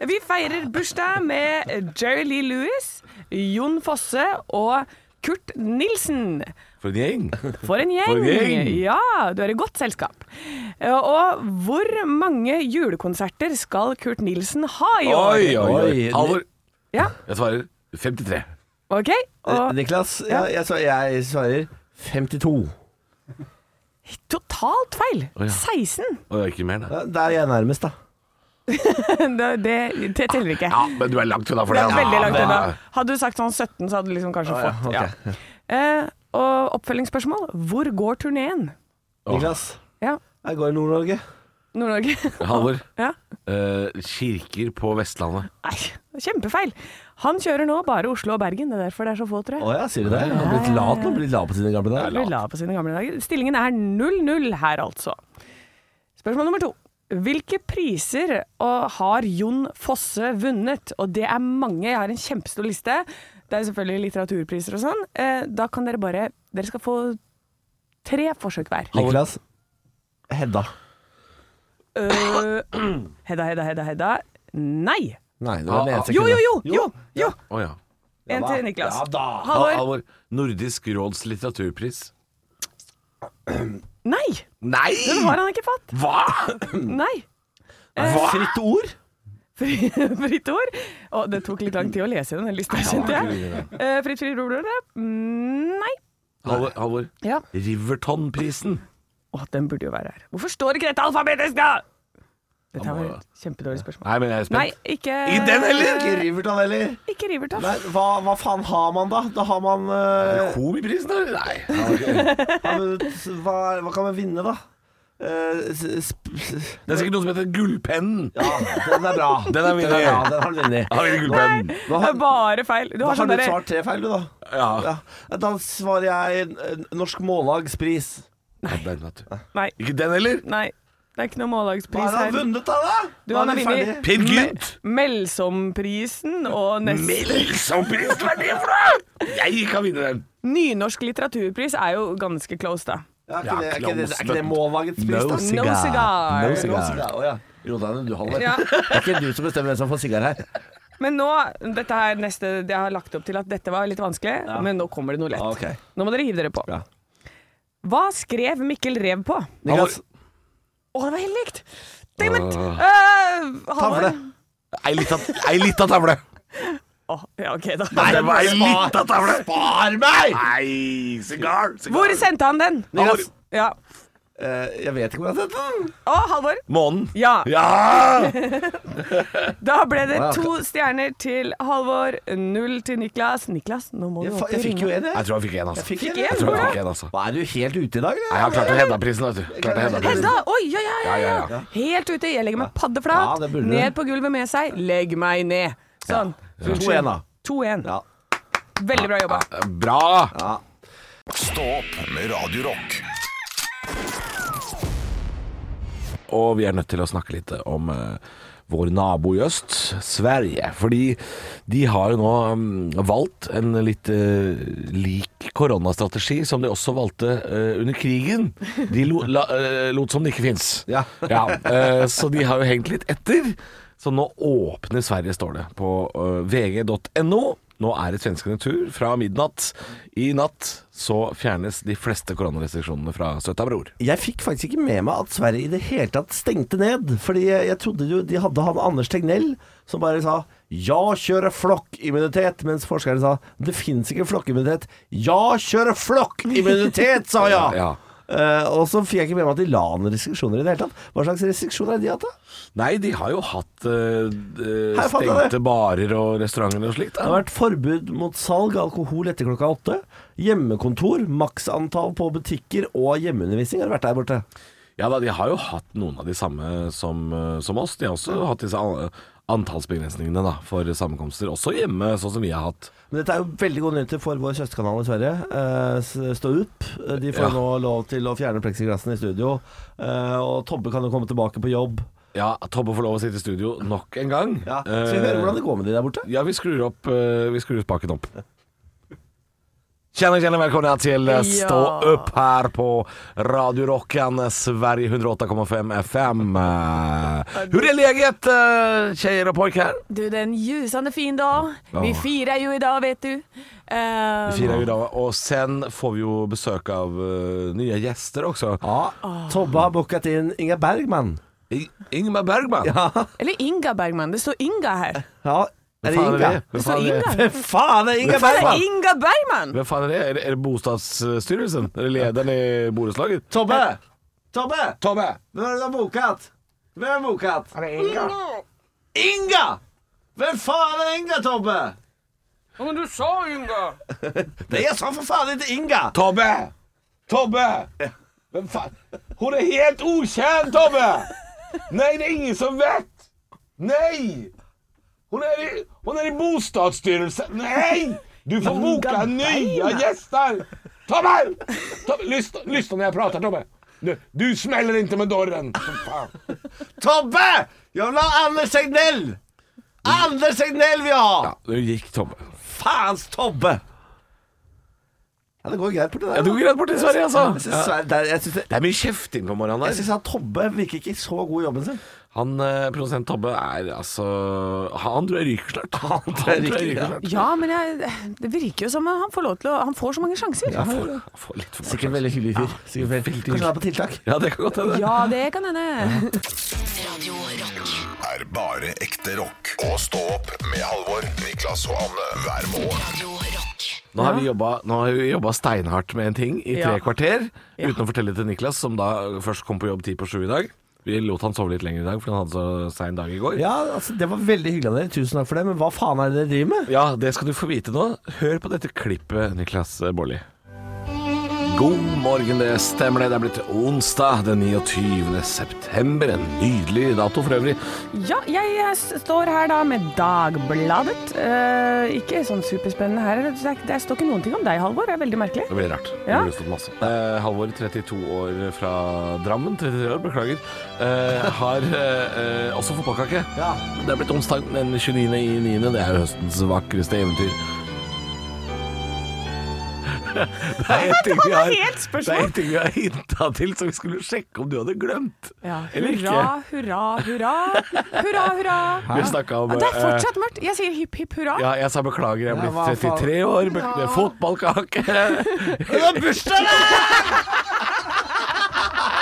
Speaker 5: Vi feirer bursdag med Jerry Lee Lewis, Jon Fosse og Kurt Nilsen.
Speaker 3: For en gjeng!
Speaker 5: For en gjeng!
Speaker 3: For en gjeng!
Speaker 5: Ja, du er i godt selskap. Og hvor mange julekonserter skal Kurt Nilsen ha i år?
Speaker 3: Oi, oi, oi.
Speaker 4: Oi.
Speaker 3: Halvor,
Speaker 5: Ja,
Speaker 3: jeg svarer 53.
Speaker 5: ok. Og
Speaker 4: Niklas, ja, jeg, svar- jeg svarer 52.
Speaker 5: totalt feil.
Speaker 3: ja.
Speaker 5: 16.
Speaker 3: Og det er ikke mer, da.
Speaker 4: Ja, Der er jeg nærmest, da.
Speaker 5: Det, det, det teller ikke.
Speaker 3: Ja, men du er langt unna for
Speaker 5: Det
Speaker 3: det.
Speaker 5: er
Speaker 3: altså.
Speaker 5: veldig langt
Speaker 3: Ja,
Speaker 5: unna.
Speaker 3: men-
Speaker 5: Hadde du sagt sånn 17, så hadde du liksom kanskje
Speaker 4: ja,
Speaker 5: fått. Ja. Eh, og oppfølgingsspørsmål. Hvor går turneen?
Speaker 4: Niklas,
Speaker 5: Ja,
Speaker 4: jeg går i Nord-Norge.
Speaker 5: Nord-Norge. <laughs>
Speaker 3: Halvor,
Speaker 5: Ja.
Speaker 3: eh, kirker på Vestlandet.
Speaker 5: Nei, kjempefeil. Han kjører nå bare Oslo og Bergen. Det er derfor det er så få, tror jeg.
Speaker 4: Å ja, sier du det? Han har blitt lat nå, blitt lat på sine gamle dager.
Speaker 5: Blir la på sine gamle dager. Stillingen er 0-0 her, altså. Spørsmål nummer to. Hvilke priser og har Jon Fosse vunnet? Og det er mange. Jeg har en kjempestor liste. Det er selvfølgelig litteraturpriser og sånn. Eh, Da kan dere bare Dere skal få tre forsøk
Speaker 4: <clears throat>
Speaker 5: hver.
Speaker 4: Niklas, Hedda.
Speaker 5: Øh, Hedda, Hedda, Hedda, Hedda. Nei!
Speaker 4: Nei, det var den
Speaker 3: Ah,
Speaker 4: eneste
Speaker 5: Jo, jo, jo! jo, jo.
Speaker 3: Å ja. Ah,
Speaker 5: En til Niklas.
Speaker 4: Ja da.
Speaker 5: Halvor.
Speaker 3: Halvor, Nordisk råds litteraturpris.
Speaker 5: Nei!
Speaker 3: Nei!
Speaker 5: Den har han ikke fått.
Speaker 3: Hva?!
Speaker 5: Nei. Eh,
Speaker 4: Fritt ord.
Speaker 5: Fri- <laughs> Fritt ord. Og det tok litt lang tid å lese den lista, kjente jeg. Eh, Fritt fritt ord, mm, nei.
Speaker 3: Halvor, Halvor
Speaker 5: Ja.
Speaker 3: Riverton-prisen.
Speaker 5: Å, den burde jo være her. Hvorfor står ikke dette alfabetisk, da?! Dette
Speaker 3: Da må
Speaker 5: var
Speaker 3: jeg-
Speaker 5: et kjempedårlig spørsmål.
Speaker 3: Nei, men jeg er
Speaker 5: Nei,
Speaker 3: spent.
Speaker 5: ikke
Speaker 3: Ikke den
Speaker 4: Ikke
Speaker 3: heller!
Speaker 4: Riverton heller.
Speaker 5: Ikke Riverton.
Speaker 4: Nei, hva, hva faen har man da? Da har man eh,
Speaker 3: Komiprisen, eller? Nei.
Speaker 4: Ja, men hva, hva kan man vinne, da? eh, s- sp-
Speaker 3: Det er sikkert noe som heter gullpennen.
Speaker 4: Ja, den er bra.
Speaker 3: Den er vinner.
Speaker 4: Ja, den har du vunnet.
Speaker 3: Han vinner gullpennen.
Speaker 4: Nå
Speaker 5: Det
Speaker 4: har,
Speaker 5: er bare feil. Du
Speaker 4: da
Speaker 5: har
Speaker 4: har
Speaker 5: sånn
Speaker 4: du
Speaker 5: derre
Speaker 4: svart tre feil, du, da.
Speaker 3: Ja.
Speaker 4: Ja. Da svarer jeg eh, Norsk Mållags pris.
Speaker 3: Ja, den, vet du.
Speaker 5: Nei.
Speaker 3: Ikke den heller?
Speaker 5: Nei. Det er ikke noe
Speaker 4: Hva
Speaker 5: mållagspris
Speaker 4: har han
Speaker 5: her.
Speaker 4: vunnet, da? da?
Speaker 5: Du,
Speaker 4: Da
Speaker 5: han
Speaker 4: er
Speaker 5: har
Speaker 4: vi
Speaker 5: vunnet
Speaker 4: ferdig.
Speaker 3: Per Gynt!
Speaker 5: Melsomprisene og nest...
Speaker 3: Melsompris, hva er det for noe?! Jeg kan vinne den.
Speaker 5: Nynorsk litteraturpris er jo ganske close, da.
Speaker 4: Ja,
Speaker 3: Ja,
Speaker 4: er ikke det, er ikke det, er ikke det
Speaker 3: Klaus,
Speaker 4: Mållagets pris, da?
Speaker 5: cigar. No cigar.
Speaker 4: No cigar. Å, ja. Rodan, du holder.
Speaker 5: Ja.
Speaker 4: Det er ikke du som bestemmer hvem som får sigar her.
Speaker 5: Men nå, dette her neste Jeg har lagt opp til at dette var litt vanskelig, men nå kommer det noe lett.
Speaker 4: Ah, Ok.
Speaker 5: Nå må dere hive dere på.
Speaker 4: Bra.
Speaker 5: Hva skrev Mikkel Rev på? Å,
Speaker 4: Niklas,
Speaker 5: det var helt likt! Dammit! Uh,
Speaker 4: tavle.
Speaker 3: Ei lita, ei lita tavle.
Speaker 5: ja, ok da.
Speaker 3: Det var ei lita tavle.
Speaker 4: Spar meg!
Speaker 3: Nei, sigar. sigar.
Speaker 5: Hvor sendte han den?
Speaker 4: Niklas,
Speaker 5: Ja.
Speaker 4: eh, jeg vet ikke hvor jeg har sett den.
Speaker 5: Å, Halvor.
Speaker 3: Månen.
Speaker 5: Ja.
Speaker 3: Ja!
Speaker 5: Da ble det
Speaker 4: Å, ja.
Speaker 5: to stjerner til Halvor, null til Niklas. Niklas, nå må
Speaker 4: Jeg,
Speaker 5: du
Speaker 4: fa-
Speaker 5: opp
Speaker 4: jeg
Speaker 5: og
Speaker 4: fikk jo
Speaker 5: ringe.
Speaker 4: en, jeg.
Speaker 3: Jeg tror jeg fikk en, altså.
Speaker 4: Fikk
Speaker 5: Fikk
Speaker 4: en,
Speaker 5: en,
Speaker 4: jeg.
Speaker 3: Jeg tror jeg
Speaker 5: Hvor
Speaker 3: fikk en, altså.
Speaker 4: Hva er du helt ute i dag? eller?
Speaker 3: Nei, jeg har klart å hedda prisen, vet du. Klart å hedda prisen.
Speaker 5: Hedda! Oi, ja, ja, ja,
Speaker 3: ja,
Speaker 5: ja. Helt ute. Jeg legger meg
Speaker 4: Ja,
Speaker 5: paddeflat.
Speaker 4: det burde du.
Speaker 5: ned på gulvet med seg. Legg meg ned. Sånn.
Speaker 4: To igjen, da.
Speaker 5: 2-1.
Speaker 4: Ja.
Speaker 5: Veldig bra jobba.
Speaker 3: Bra!
Speaker 2: Stå opp med Radio Rock.
Speaker 3: Og vi er nødt til å snakke litt om eh, vår nabo i øst, Sverige. Fordi de har jo nå mm, valgt en litt eh, lik koronastrategi som de også valgte eh, under krigen. De lo, la, eh, lot som det ikke fins.
Speaker 4: Ja.
Speaker 3: eh, så de har jo hengt litt etter. Så nå åpner Sverige, står det, på eh, vg.no. Nå er det svenskene tur. Fra midnatt i natt så fjernes de fleste koronarestriksjonene fra støtta bror.
Speaker 4: Jeg fikk faktisk ikke med meg at Sverige i det hele tatt stengte ned. Fordi jeg, jeg trodde jo de hadde han Anders Tegnell som bare sa 'ja, kjører flokkimmunitet', mens forskerne sa 'det fins ikke flokkimmunitet'. 'Ja, kjører
Speaker 3: <laughs>
Speaker 4: flokkimmunitet', sa jeg!
Speaker 3: Ja.
Speaker 4: Eh, og så fikk jeg ikke med meg at de la ned restriksjoner i det hele tatt. Hva slags restriksjoner er de hatt, da?
Speaker 3: Nei, de har jo hatt eh, d-
Speaker 4: Her fant jeg
Speaker 3: stengte
Speaker 4: det.
Speaker 3: barer og restauranter og slikt.
Speaker 4: Det har
Speaker 3: Da.
Speaker 4: vært forbud mot salg av alkohol etter klokka åtte. Hjemmekontor, maksantall på butikker og hjemmeundervisning har det vært der borte.
Speaker 3: Ja da, de har jo hatt noen av de samme som, eh, som oss. De har også hatt disse an- antallsbegrensningene da, for sammenkomster, også hjemme, sånn som vi har hatt.
Speaker 4: Men dette er jo veldig gode nyheter for vår søsterkanal i Sverige. Eh, s- Stå opp. Eh, De får
Speaker 3: Ja.
Speaker 4: nå lov til å fjerne pleksiglassene i studio. Eh, og Tobbe kan jo komme tilbake på jobb.
Speaker 3: Ja, Tobbe får lov å sitte i studio nok en gang.
Speaker 4: Ja. Skal vi høre hvordan det går med de der borte?
Speaker 3: Ja, vi skrur opp eh, Vi skrur spaken opp. Tjena, tjena, välkomna till eh, Stå
Speaker 5: Ja.
Speaker 3: upp här på Radio Rockan, Sverige 108,5 FM. Eh, Hur är läget eh, tjejer och pojkar?
Speaker 5: Du, det er en ljusende fin dag. Vi
Speaker 3: Ja.
Speaker 5: firer jo i dag, vet du.
Speaker 3: Vi
Speaker 5: Eh,
Speaker 3: firar ju idag och sen får vi ju besök av eh, nya gäster också.
Speaker 4: Ja. Tobbe har booket inn Inge Bergman.
Speaker 3: I- Ingmar Bergman. Ja,
Speaker 5: eller Inga Bergman. Det står Inga her.
Speaker 4: Ja, er
Speaker 3: fan
Speaker 4: det
Speaker 3: är
Speaker 4: Inge?
Speaker 3: Vem
Speaker 5: Det står
Speaker 3: fan är det?
Speaker 5: Inga.
Speaker 4: Hvem faen er Inge
Speaker 5: Hva er det
Speaker 4: Bergman?
Speaker 5: Inga Bergman?
Speaker 3: Vem fan är det? Är det, är det bostadsstyrelsen? Är det ledaren i bohuslaget?
Speaker 4: Tobbe! Tobbe!
Speaker 3: Tobbe!
Speaker 4: Hvem er det du har boket? Hvem er det boket? Er det Inga? Inga! Hvem faen er Inga, Tobbe?
Speaker 5: Men du sa Inga.
Speaker 4: <laughs> Det er sånn for faen ikke Inga!
Speaker 3: Tobbe! Tobbe! Vem fan? Hon är helt okänd Tobbe! Nej, det är ingen som vet! Nej! Hon är i, hon är i bostadsstyrelsen. Nej! Du får boka nya gäster! Tobbe! Tobbe lyssna, lyssna när jag pratar Tobbe. Du, du smäller inte med dörren. För Fan.
Speaker 4: Tobbe! Jeg vil ha Anders Tegnell! Anders Tegnell vil jeg ha!
Speaker 3: Nu gick Tobbe.
Speaker 4: Faens Tobbe! Ja, det går greit borti der.
Speaker 3: Ja, det går greit borti Sverige, altså.
Speaker 4: Jeg syns Sverige- der- jeg syns det-
Speaker 3: Det är min käfting på morgonen.
Speaker 4: jeg syns han Tobbe virker ikke så god i jobben sin.
Speaker 3: Han, eh, produsent Tobbe, er altså Han tror jeg ryker snart. Han tror jeg
Speaker 4: ryker, ja.
Speaker 3: snart.
Speaker 5: Ja, men jeg, det virker jo som om han får lov til å Han får så mange sjanser.
Speaker 3: Han får, han får litt for
Speaker 4: Sikkert veldig hyggelig fyr. Sikkert veldig Kanskje han er på tiltak?
Speaker 3: Ja, det kan godt hende.
Speaker 5: Ja, det kan hende.
Speaker 9: Radio Rock.
Speaker 2: Er bare ekte rock. Og stå opp med Halvor, Niklas og Anne hver morgen.
Speaker 9: Radio Rock.
Speaker 3: Nå har vi jobba, nå har vi jobba steinhardt med en ting i tre
Speaker 5: Ja.
Speaker 3: kvarter.
Speaker 5: Ja.
Speaker 3: Uten å fortelle til Niklas, som da først kom på jobb ti på sju i dag. Vi lot han sove litt lenger i dag, for han hadde så sein dag i går.
Speaker 4: Ja, altså, Det var veldig hyggelig av dere. Tusen takk for det. Men hva faen er det dere driver med?
Speaker 3: Ja, det skal du få vite nå. Hør på dette klippet, Niklas Baarli. God morgen, det stemmer det. Det er blitt onsdag den 29. september. En nydelig dato for øvrig.
Speaker 5: Ja, jeg eh, s- står her da med Dagbladet. Eh, ikke sånn superspennende her. eller? Det er ikke- det står ikke noen ting om deg, Halvor. Det er veldig merkelig.
Speaker 3: Det blir rart. Det
Speaker 5: Ja.
Speaker 3: burde stått masse. Eh, Halvor, 32 år fra Drammen, 33 år, beklager, eh, har eh, eh, også fotballkake.
Speaker 4: Ja.
Speaker 3: Det er blitt onsdag den 29. i 9. Det er jo høstens vakreste eventyr. <laughs> Det er en ting vi har,
Speaker 5: helt spørsmål.
Speaker 3: det er en ting vi har hinta til, så vi skulle sjekke om du hadde glemt.
Speaker 5: Ja,
Speaker 3: Eller ikke.
Speaker 5: hurra, hurra, hurra. Hurra, hurra.
Speaker 3: Vi snakket om,
Speaker 5: Ja, Det er
Speaker 3: eh,
Speaker 5: fortsatt mørkt. Jeg sier hipp, hipp hurra.
Speaker 3: Ja, jeg sa beklager, jeg er
Speaker 4: Ja, hva
Speaker 3: blitt
Speaker 4: faen?
Speaker 3: 33 år. Be det er Fotballkake.
Speaker 4: <laughs> Det er bursdag, da!
Speaker 3: <laughs>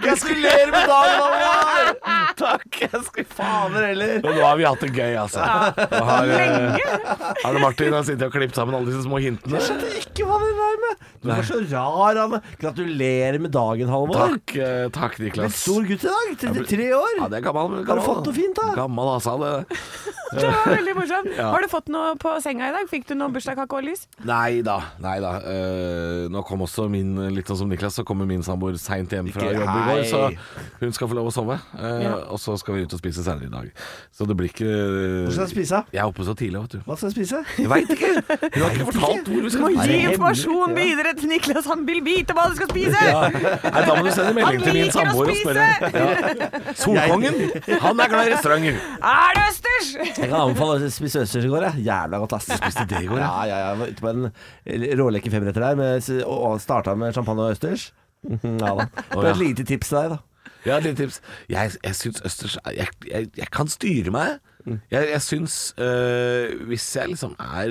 Speaker 4: Gratulerer med dagen, Halvor! Takk. Jeg skulle fader heller.
Speaker 3: Men nå har vi hatt det gøy, altså. Og Har, eh, Arne Martin har sittet og klippet sammen alle disse små hintene.
Speaker 4: Jeg skjønte ikke hva det der med. Du var så rar, Anne. Gratulerer med dagen, Halvor.
Speaker 3: Takk, eh, takk
Speaker 4: En
Speaker 3: Niklas.
Speaker 4: stor gutt i dag. 33 år.
Speaker 3: Ja, det er gammel, gammel.
Speaker 4: Har du fått noe fint, da?
Speaker 3: Gammel asa, det.
Speaker 5: Det var veldig morsomt. Har du fått noe på senga i dag? Fikk du noe bursdagskake og lys?
Speaker 3: Nei da, nei da. Eh, nå kom også min, litt sånn som Niklas, så kommer min samboer seint hjem fra
Speaker 4: Ikke-
Speaker 3: jobb i går.
Speaker 4: hei.
Speaker 3: Så hun skal få lov å sove. eh,
Speaker 5: Ja.
Speaker 3: Og så skal vi ut og spise senere i dag. Så det blir ikke
Speaker 4: Hvor skal jeg spise?
Speaker 3: Jeg er oppe så tidlig, vet du.
Speaker 4: Hva skal jeg spise?
Speaker 3: Jeg veit ikke! Hun har ikke fortalt hvor vi
Speaker 5: Du må
Speaker 3: skal
Speaker 5: gi
Speaker 4: hemmelig,
Speaker 5: informasjon videre til Niklas. Han vil vite hva du skal spise.
Speaker 3: Nei, da må du sende melding til min
Speaker 5: Han liker å
Speaker 3: samboer og spørre. Ja. Solkongen, han er glad i restauranter.
Speaker 5: Er det østers? <laughs>
Speaker 4: Jeg kan anbefale å spise østers i går. Jeg. Jævla godt, ass. Spiste det i går? Ja, ja, ja. Jeg var ute på en råleke femretter der med, og og starta med champagne og østers. <laughs> Mhm, Ja da. Det var
Speaker 3: ja.
Speaker 4: et lite tips til deg, da.
Speaker 3: Ja, et lite tips. Jeg, jeg syns østers er- jeg, jeg, jeg kan styre meg. Jeg, jeg syns øh, Hvis jeg liksom er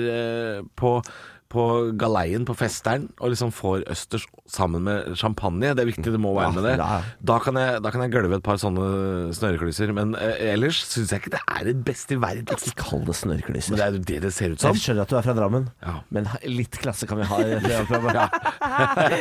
Speaker 3: øh, på på galeien på festeren og liksom får østers sammen med champagne. Det er viktig, det må være med det.
Speaker 4: Ja, ja.
Speaker 3: Da kan jeg, da kan jeg gølve et par sånne snøreklyser. Men øh, ellers syns jeg ikke det er det beste i verden.
Speaker 4: Ikke kall det snørrklyser.
Speaker 3: Men det er jo det det ser ut som.
Speaker 4: Jeg skjønner at du er fra Drammen,
Speaker 3: Ja.
Speaker 4: men ha- litt klasse kan vi ha. i <laughs> dette programmet.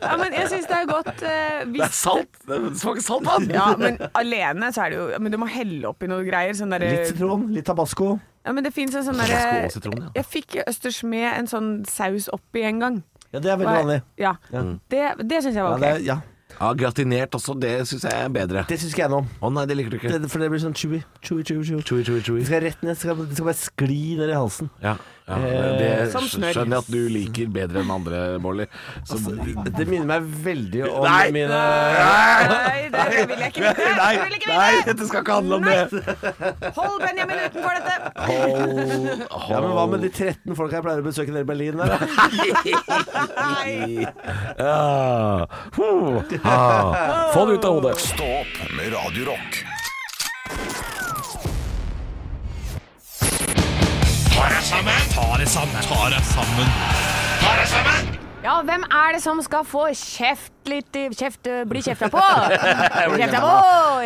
Speaker 5: Ja, men jeg syns det er godt eh,
Speaker 3: Det er
Speaker 5: hvis
Speaker 3: salt! Det smaker salt vann!
Speaker 5: ja, men alene så er det jo Men du må helle oppi noe greier. Sånn derre-
Speaker 4: Litt sitron, litt tabasco.
Speaker 5: ja, men det fins en sånn
Speaker 3: Tabasco
Speaker 5: derre
Speaker 3: og sitron, ja.
Speaker 5: Jeg fikk østers med en sånn saus oppi en gang.
Speaker 4: Ja, det er
Speaker 5: Og
Speaker 4: veldig
Speaker 5: jeg-
Speaker 4: vanlig. Mm.
Speaker 5: Ja. Det, det syns jeg
Speaker 4: Ja,
Speaker 5: var
Speaker 4: det,
Speaker 5: ok.
Speaker 4: er- ja.
Speaker 3: Ja, gratinert også, det syns jeg er bedre.
Speaker 4: det syns ikke jeg noe om.
Speaker 3: Å nei, det liker du ikke.
Speaker 4: Det, for det blir sånn chewy. Chewy, chewy, chewy.
Speaker 3: Chewy, chewy, chewy.
Speaker 4: Det skal rett ned, det skal, det skal bare skli ned i halsen.
Speaker 3: Ja, ja
Speaker 4: Eh,
Speaker 3: det
Speaker 5: Som
Speaker 3: skj-
Speaker 5: smør.
Speaker 3: skjønner jeg at du liker bedre enn andre, Bolly. Så-
Speaker 4: Altså, Det minner meg veldig om
Speaker 3: Nei!
Speaker 4: mine
Speaker 5: Nei, det vil jeg ikke vite.
Speaker 4: <laughs>
Speaker 3: Nei,
Speaker 5: Jeg vil ikke
Speaker 3: nei,
Speaker 5: vite.
Speaker 3: dette skal ikke handle om det!
Speaker 5: Hold Benjamin utenfor dette.
Speaker 3: Hold,
Speaker 4: <laughs> Ja, men hva med de 13 folka jeg pleier å besøke nede i Berlin? Der? da?
Speaker 5: Nei.
Speaker 3: Ja. Huh. Ah. Få det ut av hodet.
Speaker 2: Stå opp med Radio Rock.
Speaker 5: Ja, hvem er det som skal få kjeft litt i- kjeft, eh, Bli kjefta
Speaker 4: <laughs>
Speaker 5: på? Bli kjefta på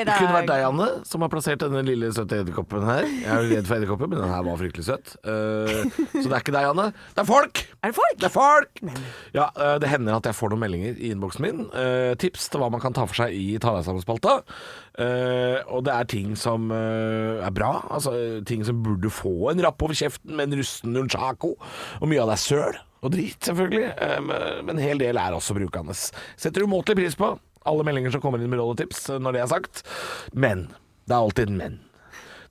Speaker 5: i
Speaker 3: Det kunne vært
Speaker 5: dag.
Speaker 3: deg, Anne, som har plassert denne lille søte edderkoppen her. Jeg er jo redd for edderkopper, men den her var fryktelig søt. Eh, så det er ikke deg, Anne. Det er folk!
Speaker 5: Er det folk?
Speaker 3: Det er folk! Ja, eh, det hender at jeg får noen meldinger i innboksen min. eh, Tips til hva man kan ta for seg i Ta deg sammen-spalta. Eh, Og det er ting som eh, er bra. Altså eh, ting som burde få en rapp over kjeften med en rusten nunchako. Og mye av det er søl og drit, selvfølgelig. Eh, men- Men en hel del er også brukende. Setter umåtelig pris på alle meldinger som kommer inn med råd og tips, eh, når det er sagt. Men. Det er alltid men.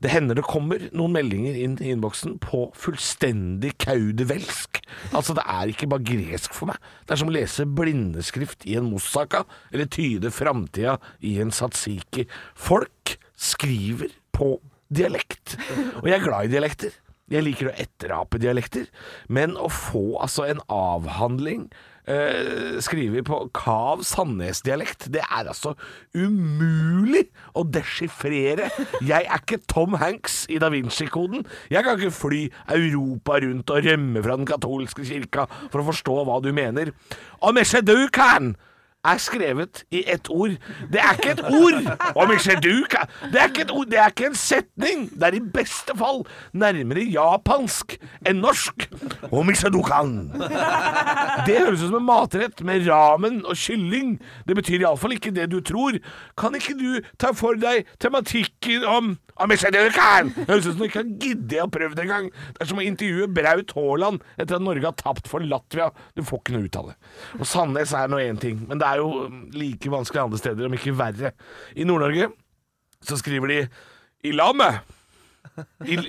Speaker 3: Det hender det kommer noen meldinger inn i innboksen på fullstendig kaudevelsk. Altså, det er ikke bare gresk for meg. Det er som å lese blindeskrift i en moussaka, eller tyde framtida i en satsiki. Folk skriver på dialekt. Og jeg er glad i dialekter. Jeg liker å etterape dialekter. Men å få altså en avhandling eh, skriver på Kav Sandnes-dialekt. Det er altså umulig å deschiffrere. Jeg er ikke Tom Hanks i Da Vinci-koden. Jeg kan ikke fly Europa rundt og rømme fra den katolske kirka for å forstå hva du mener. Og messe du kan! er skrevet i ett ord. Det er ikke et ord! Og Michel Duke er- Det er ikke et ord, det er ikke en setning! Det er i beste fall nærmere japansk enn norsk. Og Michel Dukan. Det høres ut som en matrett med ramen og kylling. Det betyr iallfall ikke det du tror. Kan ikke du ta for deg tematikken om om Michel Dukan? Det høres ut som du ikke har giddet å prøve det engang. Det er som å intervjue Braut Haaland etter at Norge har tapt for Latvia. Du får ikke noe ut av det. Og Sandnes er nå én ting, men det er jo mm, like vanskelig andre steder, om ikke verre. I Nord-Norge så skriver de 'i lammet'. I,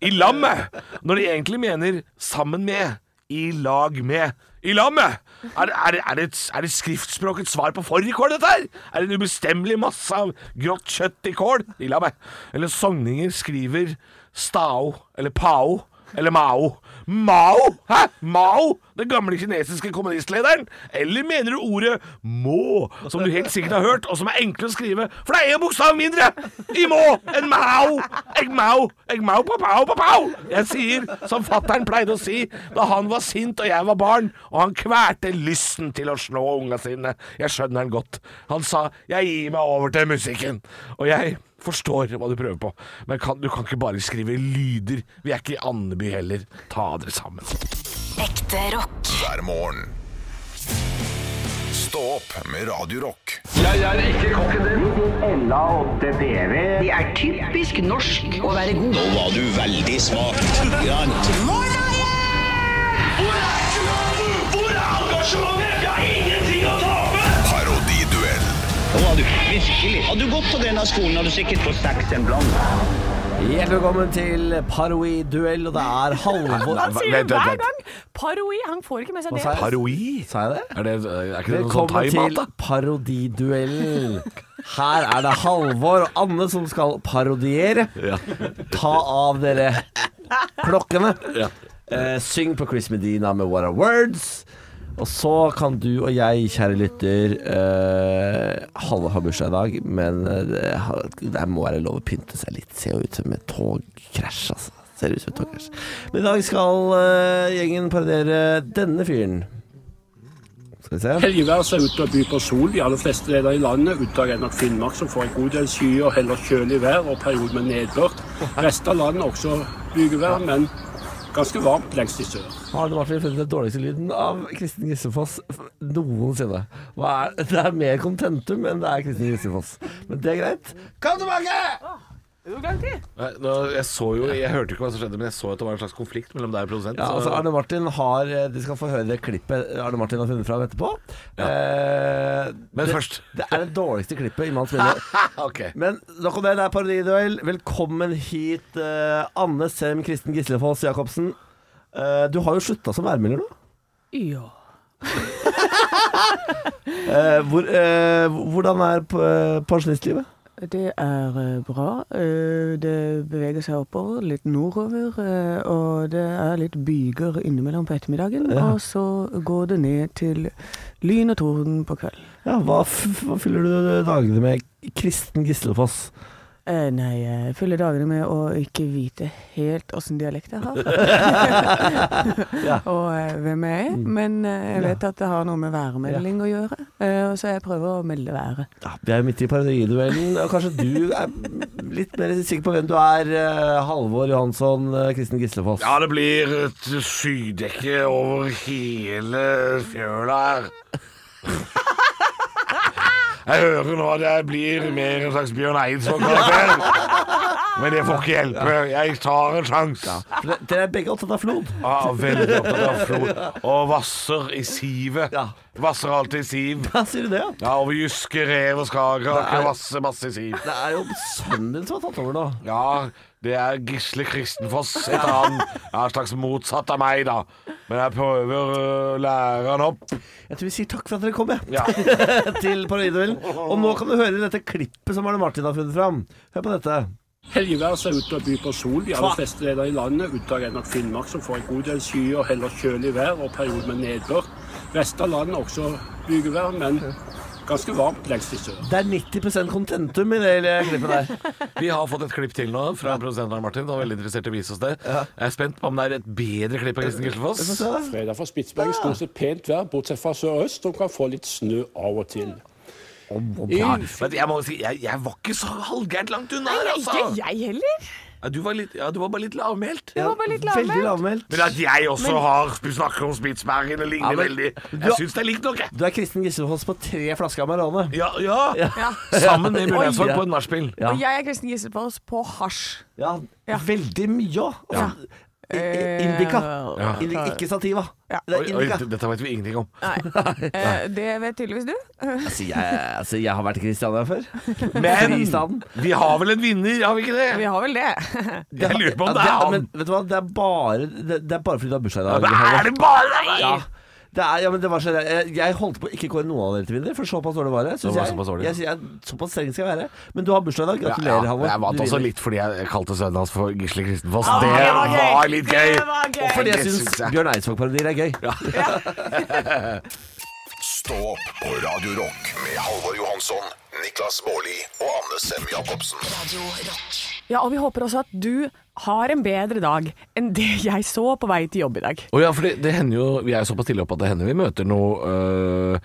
Speaker 3: I lammet! Når de egentlig mener 'sammen med'. I lag med. I lammet! Er, er, er, det, et- er det skriftspråkets svar på fårikål, dette her? Er det en ubestemmelig masse av grått kjøtt i kål? I lammet. Eller sogninger skriver stao eller pao eller mao. Mao! Hæ? Mao? Den gamle kinesiske kommunistlederen? Eller mener du ordet må, som du helt sikkert har hørt, og som er enkle å skrive, for det er én bokstav mindre i må enn mao? Eg mao, eg mao på pao på pao. Jeg sier som fattern pleide å si da han var sint og jeg var barn, og han kvalte lysten til å slå unga sine. Jeg skjønner han godt. Han sa 'jeg gir meg over til musikken', og jeg forstår hva du prøver på, men kan, du kan ikke bare skrive lyder. Vi er ikke i Andeby heller. Ta dere sammen.
Speaker 9: Ekte rock.
Speaker 2: hver morgen. Stå opp med Radio Rock.
Speaker 10: Det er typisk norsk å være god.
Speaker 11: Nå var du veldig smak.
Speaker 2: Parodiduell
Speaker 11: Nå var du virkelig. Hadde du gått på denne skolen, hadde du sikkert fått seks en blant.
Speaker 4: Hjertelig velkommen til Paroi-duell, og det er Halvor
Speaker 5: Han sier det hver gang! Paroi. Han får ikke med seg
Speaker 4: Hva
Speaker 5: det.
Speaker 4: sa jeg?
Speaker 3: Paroi?
Speaker 4: Sa jeg det?
Speaker 3: Er, det, er ikke det noe sånn
Speaker 4: Velkommen
Speaker 3: thaimat,
Speaker 4: til
Speaker 3: da?
Speaker 4: parodiduellen. Her er det Halvor og Anne som skal parodiere. Ta av dere klokkene. Eh, syng på Chris Medina med What Are Words. Og så kan du og jeg, kjære lytter eh, Halvor har bursdag i dag, men eh, det, har- det må være lov å pynte seg litt. Ser jo ut som et togkrasj, altså. Ser ut som et togkrasj. Men i dag skal eh, gjengen parodiere denne fyren. Skal vi se.
Speaker 12: Helgevær ser ut til å by på sol de aller fleste deler i landet, unntatt nok Finnmark, som får en god del skyer og heller kjølig vær og perioder med nedbør. Resten av landet også bygevær, men ganske varmt lengst i sør.
Speaker 4: Har du Martin funnet den dårligste lyden av Kristin Gissefoss f- noensinne? Hva er, det er mer contentum enn det er Kristin Gissefoss. Men det er greit. Kom tilbake!
Speaker 3: Nei, nå, jeg så jo, jeg hørte jo ikke hva som skjedde, men jeg så at det var en slags konflikt mellom deg og produsent.
Speaker 4: Ja,
Speaker 3: så-
Speaker 4: altså Arne Martin har eh, De skal få høre det klippet Arne Martin har funnet fram etterpå. Eh,
Speaker 3: Men
Speaker 4: det,
Speaker 3: først.
Speaker 4: Det er det dårligste klippet i manns minne.
Speaker 3: ok.
Speaker 4: Men nok om det, det er parodiduell. Velkommen hit, eh, Anne Sem Kristin Gislefoss Jacobsen. Eh, du har jo slutta som værmelder nå.
Speaker 5: Ja.
Speaker 4: <laughs> Eh, hvor, eh, hvordan er eh, pensjonistlivet?
Speaker 13: Det er eh, bra. Eh, Det beveger seg oppover, litt nordover. eh, Og det er litt byger innimellom på ettermiddagen. Og så går det ned til lyn og torden på kvelden.
Speaker 4: Ja, hva, f hva fyller du dagene med, Kristen Gislefoss?
Speaker 13: Eh, Nei, jeg fyller dagene med å ikke vite helt åssen dialekt jeg
Speaker 14: <laughs>
Speaker 13: har. Og eh, hvem jeg er.
Speaker 14: Mm.
Speaker 13: Men eh, jeg vet at det har noe med værmelding å gjøre. eh, og Så jeg prøver å melde været.
Speaker 4: Ja, vi er jo midt i parodiduellen, og kanskje du er litt mer sikker på hvem du er, eh, Halvor Johansson, eh, Kristen Gislefoss.
Speaker 3: Ja, det blir et skydekke over hele fjøla her. Jeg hører nå at jeg blir mer en slags Bjørn Eidsvåg-karakter. Men det får ikke hjelpe. Jeg tar en sjanse.
Speaker 4: For det- Dere er begge opptatt av flod.
Speaker 3: Ah, veldig opptatt av flod. Og vasser i sivet. Vasser alltid i siv.
Speaker 4: Ja, sier du det, ja? Det
Speaker 3: Ja, over Jyske, rev og
Speaker 4: Det er-
Speaker 3: skagerrak. Vasse masse i siv.
Speaker 4: er jo sønnen din som har tatt over nå.
Speaker 3: Ja, det er Gisle Kristenfoss, heter han. Ja, en slags motsatt av meg, da. Men jeg prøver å lære han opp.
Speaker 4: Jeg tror vi sier takk for at dere kom, jeg,
Speaker 3: Ja.
Speaker 4: <laughs> til parodiduellen. Og nå kan du høre dette klippet som Arne Martin har funnet fram. Hør på dette.
Speaker 12: Helgevær ser ut til å by på sol de aller fleste deler i landet, unntatt nok Finnmark, som får en god del skyer og heller kjølig vær og perioder med nedbør. Resten av landet også bygevær, men Ganske varmt lengst i sør.
Speaker 4: Det er 90 kontentum i det hele klippet der.
Speaker 3: Vi har fått et klipp til nå fra produsenten Arne Martin. Han var veldig interessert i å vise oss det. Jeg er spent på om det er et bedre klipp av Kristin Gislefoss.
Speaker 14: Fredag for Spitsbergen stort sett pent vær, bortsett fra sørøst, som kan få litt snø av og til.
Speaker 3: Ja, men jeg må si, jeg, jeg var ikke så halvgærent langt unna her, altså.
Speaker 5: Ikke jeg heller.
Speaker 3: Ja, Du var, litt, ja, du var bare litt lavmælt.
Speaker 5: Jeg var bare litt lavmælt.
Speaker 4: Veldig lavmælt.
Speaker 3: Men at jeg også
Speaker 4: Men-
Speaker 3: har snakker om Spitsbergen, det ligner
Speaker 4: Ja, men-
Speaker 3: veldig
Speaker 4: Du-
Speaker 3: Jeg syns det er likt noe.
Speaker 4: Du er Kristin Gislefoss på tre flasker Amarone.
Speaker 3: Ja, ja. Sammen med Mulighetsvang på en nachspiel.
Speaker 4: Ja.
Speaker 5: Og jeg er Kristin Gislefoss på hasj.
Speaker 4: Ja, veldig mye òg. Altså, i- i- Indica.
Speaker 3: Ja.
Speaker 4: Indi ikke sativa. Det
Speaker 3: Oi,
Speaker 4: er
Speaker 3: oi,
Speaker 4: indica.
Speaker 3: d- dette vet vi ingenting om.
Speaker 5: <laughs> Nei. Eh, det vet tydeligvis du. <laughs>
Speaker 4: Altså, jeg, altså, jeg har vært i Kristiania før.
Speaker 3: Men
Speaker 4: Fristaden.
Speaker 3: vi har vel en vinner, har vi ikke det?
Speaker 5: Vi har vel det. <laughs>
Speaker 3: Jeg lurer på om
Speaker 4: Ja,
Speaker 3: det er han.
Speaker 4: Men vet du hva, det er bare, det, det er bare fordi du har bursdag i
Speaker 3: Ja,
Speaker 4: dag.
Speaker 3: men
Speaker 4: Halvor.
Speaker 3: er det bare deg?
Speaker 4: Ja. Det er, ja, men det var så, jeg, jeg holdt på å ikke kåre noen av dere til vinner, for såpass dårlig var det. Synes
Speaker 3: Det var
Speaker 4: jeg,
Speaker 3: såpass dårlig.
Speaker 4: jeg, sier jeg, såpass streng skal jeg være. Men du har bursdag i dag.
Speaker 3: Ja,
Speaker 4: Gratulerer,
Speaker 3: ja.
Speaker 4: Halvor.
Speaker 3: Jeg vant
Speaker 4: Du
Speaker 3: også
Speaker 4: vinner.
Speaker 3: litt fordi jeg kalte sønnen hans for Gisle Kristenfoss.
Speaker 5: Ah,
Speaker 3: det,
Speaker 5: det var
Speaker 3: var
Speaker 5: gøy!
Speaker 3: litt gøy!
Speaker 5: Det var gøy!
Speaker 3: Og
Speaker 4: Fordi jeg
Speaker 3: det
Speaker 4: syns
Speaker 3: synes jeg.
Speaker 4: Bjørn Eidsvåg-parodier er gøy.
Speaker 2: Stå opp på Radio Rock med Halvor Johansson, Niklas Baarli og Anne Sem Jacobsen.
Speaker 5: Ja, og vi håper også at du har en bedre dag enn det jeg så på vei til jobb i dag.
Speaker 3: Å ja, for det, det hender jo Vi er jo såpass tidlig oppe at det hender vi møter noe øh,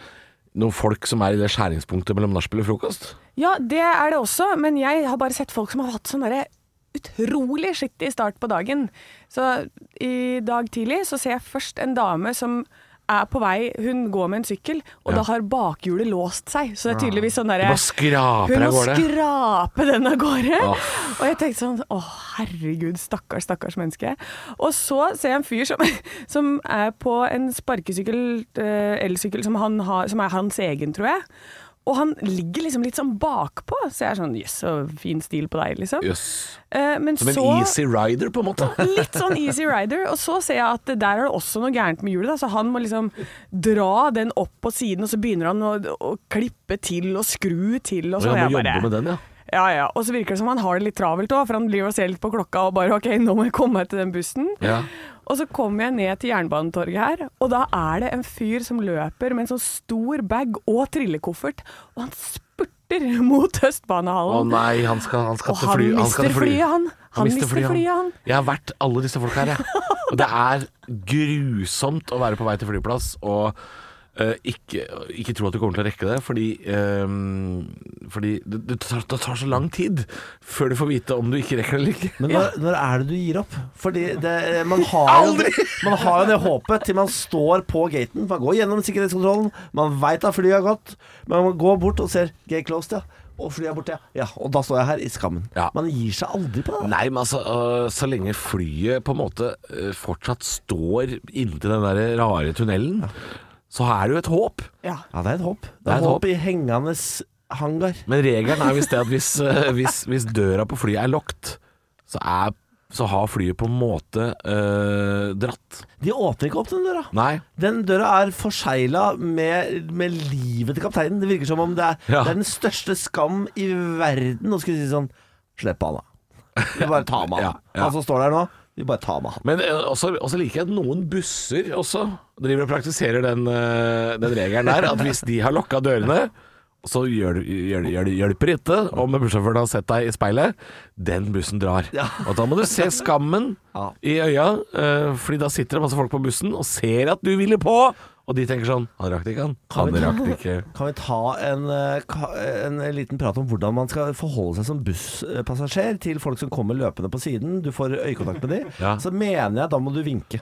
Speaker 3: noen folk som er i det skjæringspunktet mellom nachspiel og frokost.
Speaker 5: Ja, det er det også, men jeg har bare sett folk som har hatt sånn derre utrolig skittig start på dagen. Så i dag tidlig så ser jeg først en dame som er på vei, hun går med en sykkel, og da har bakhjulet låst seg. Så det er tydeligvis sånn derre
Speaker 3: Hun bare skraper
Speaker 5: Hun
Speaker 3: av
Speaker 5: må
Speaker 3: gårde.
Speaker 5: skrape den av gårde.
Speaker 3: Åh.
Speaker 5: Og jeg tenkte sånn Å, herregud, stakkars, stakkars menneske. Og så ser jeg en fyr som, <laughs> som er på en sparkesykkel, eh, elsykkel, som, han har, som er hans egen, tror jeg. Og han ligger liksom litt sånn bakpå, så jeg er sånn Jøss, så fin stil på deg, liksom.
Speaker 3: Jøss.
Speaker 5: Eh, men
Speaker 3: Som en
Speaker 5: så
Speaker 3: easy rider, på en måte.
Speaker 5: <laughs> Litt sånn easy rider. Og så ser jeg at der er det også noe gærent med hjulet, da, så han må liksom dra den opp på siden, og så begynner han å, å klippe til og skru til og
Speaker 3: Og
Speaker 5: sånn.
Speaker 3: jeg
Speaker 5: Jeg
Speaker 3: må
Speaker 5: bare-
Speaker 3: jobbe med den, ja.
Speaker 5: ja, ja. Og så virker det som han har det litt travelt òg, for han driver og ser litt på klokka og bare OK, nå må jeg komme meg til den bussen.
Speaker 3: Ja.
Speaker 5: Og så kommer jeg ned til Jernbanetorget her, og da er det en fyr som løper med en sånn stor bag og trillekoffert, og han spurter <laughs> mot
Speaker 3: Å
Speaker 5: Østbanehallen.
Speaker 3: nei, han skal, han skal
Speaker 5: Og
Speaker 3: til
Speaker 5: han
Speaker 3: fly.
Speaker 5: mister
Speaker 3: til fly.
Speaker 5: flyet, han. Han mister flyet, han.
Speaker 3: Jeg har vært alle disse folka her, jeg. Og det er grusomt å være på vei til flyplass og eh, ikke, ikke tro at du kommer til å rekke det, fordi, eh, fordi det, det, tar, det tar så lang tid før du får vite om du ikke rekker det eller ikke.
Speaker 4: Men når, når er det du gir opp? Fordi det, man, har jo, <laughs> man har jo det håpet til man står på gaten. Man går gjennom sikkerhetskontrollen, man veit at flyet har gått, men man går bort og ser gate closed, ja. Og flyet er borte, ja. ja. Og da står jeg her i skammen.
Speaker 3: Ja.
Speaker 4: Man gir seg aldri på det.
Speaker 3: Nei, men altså, øh, så lenge flyet på en måte øh, fortsatt står inntil den der rare tunnelen, så er det jo et håp.
Speaker 5: Ja.
Speaker 4: Ja, det er et håp. Det er,
Speaker 3: er et
Speaker 4: et håp i hengende hangar.
Speaker 3: Men regelen er visst det at hvis, øh, hvis, hvis døra på flyet er lukket, så, er- så har flyet på en måte øh, dratt.
Speaker 4: De åpner ikke opp den døra.
Speaker 3: Nei.
Speaker 4: Den døra er forsegla med, med livet til kapteinen. Det virker som om det er,
Speaker 3: Ja.
Speaker 4: det er den største skam i verden å skulle si sånn Slipp han, da. Vi bare tar med
Speaker 3: <laughs>
Speaker 4: han.
Speaker 3: Ja, ja.
Speaker 4: Han som står der nå, vi bare tar med han.
Speaker 3: Men øh, også, også liker jeg at noen busser også driver og praktiserer den, øh, den regelen der, at hvis de har lukka dørene, så gjør, det- gjør, det- gjør, det- hjelper det ikke om bussjåføren har sett deg i speilet. Den bussen drar. Og da må du se skammen
Speaker 4: Ja.
Speaker 3: i øya, øh, fordi da sitter det masse folk på bussen og ser at du ville på, og de tenker sånn Han rakk det ikke, han. Han rakk det ikke.
Speaker 4: Kan vi ta en, eh, ka- en liten prat om hvordan man skal forholde seg som busspassasjer til folk som kommer løpende på siden? Du får øyekontakt med dem.
Speaker 3: Ja.
Speaker 4: Så mener jeg da må du vinke.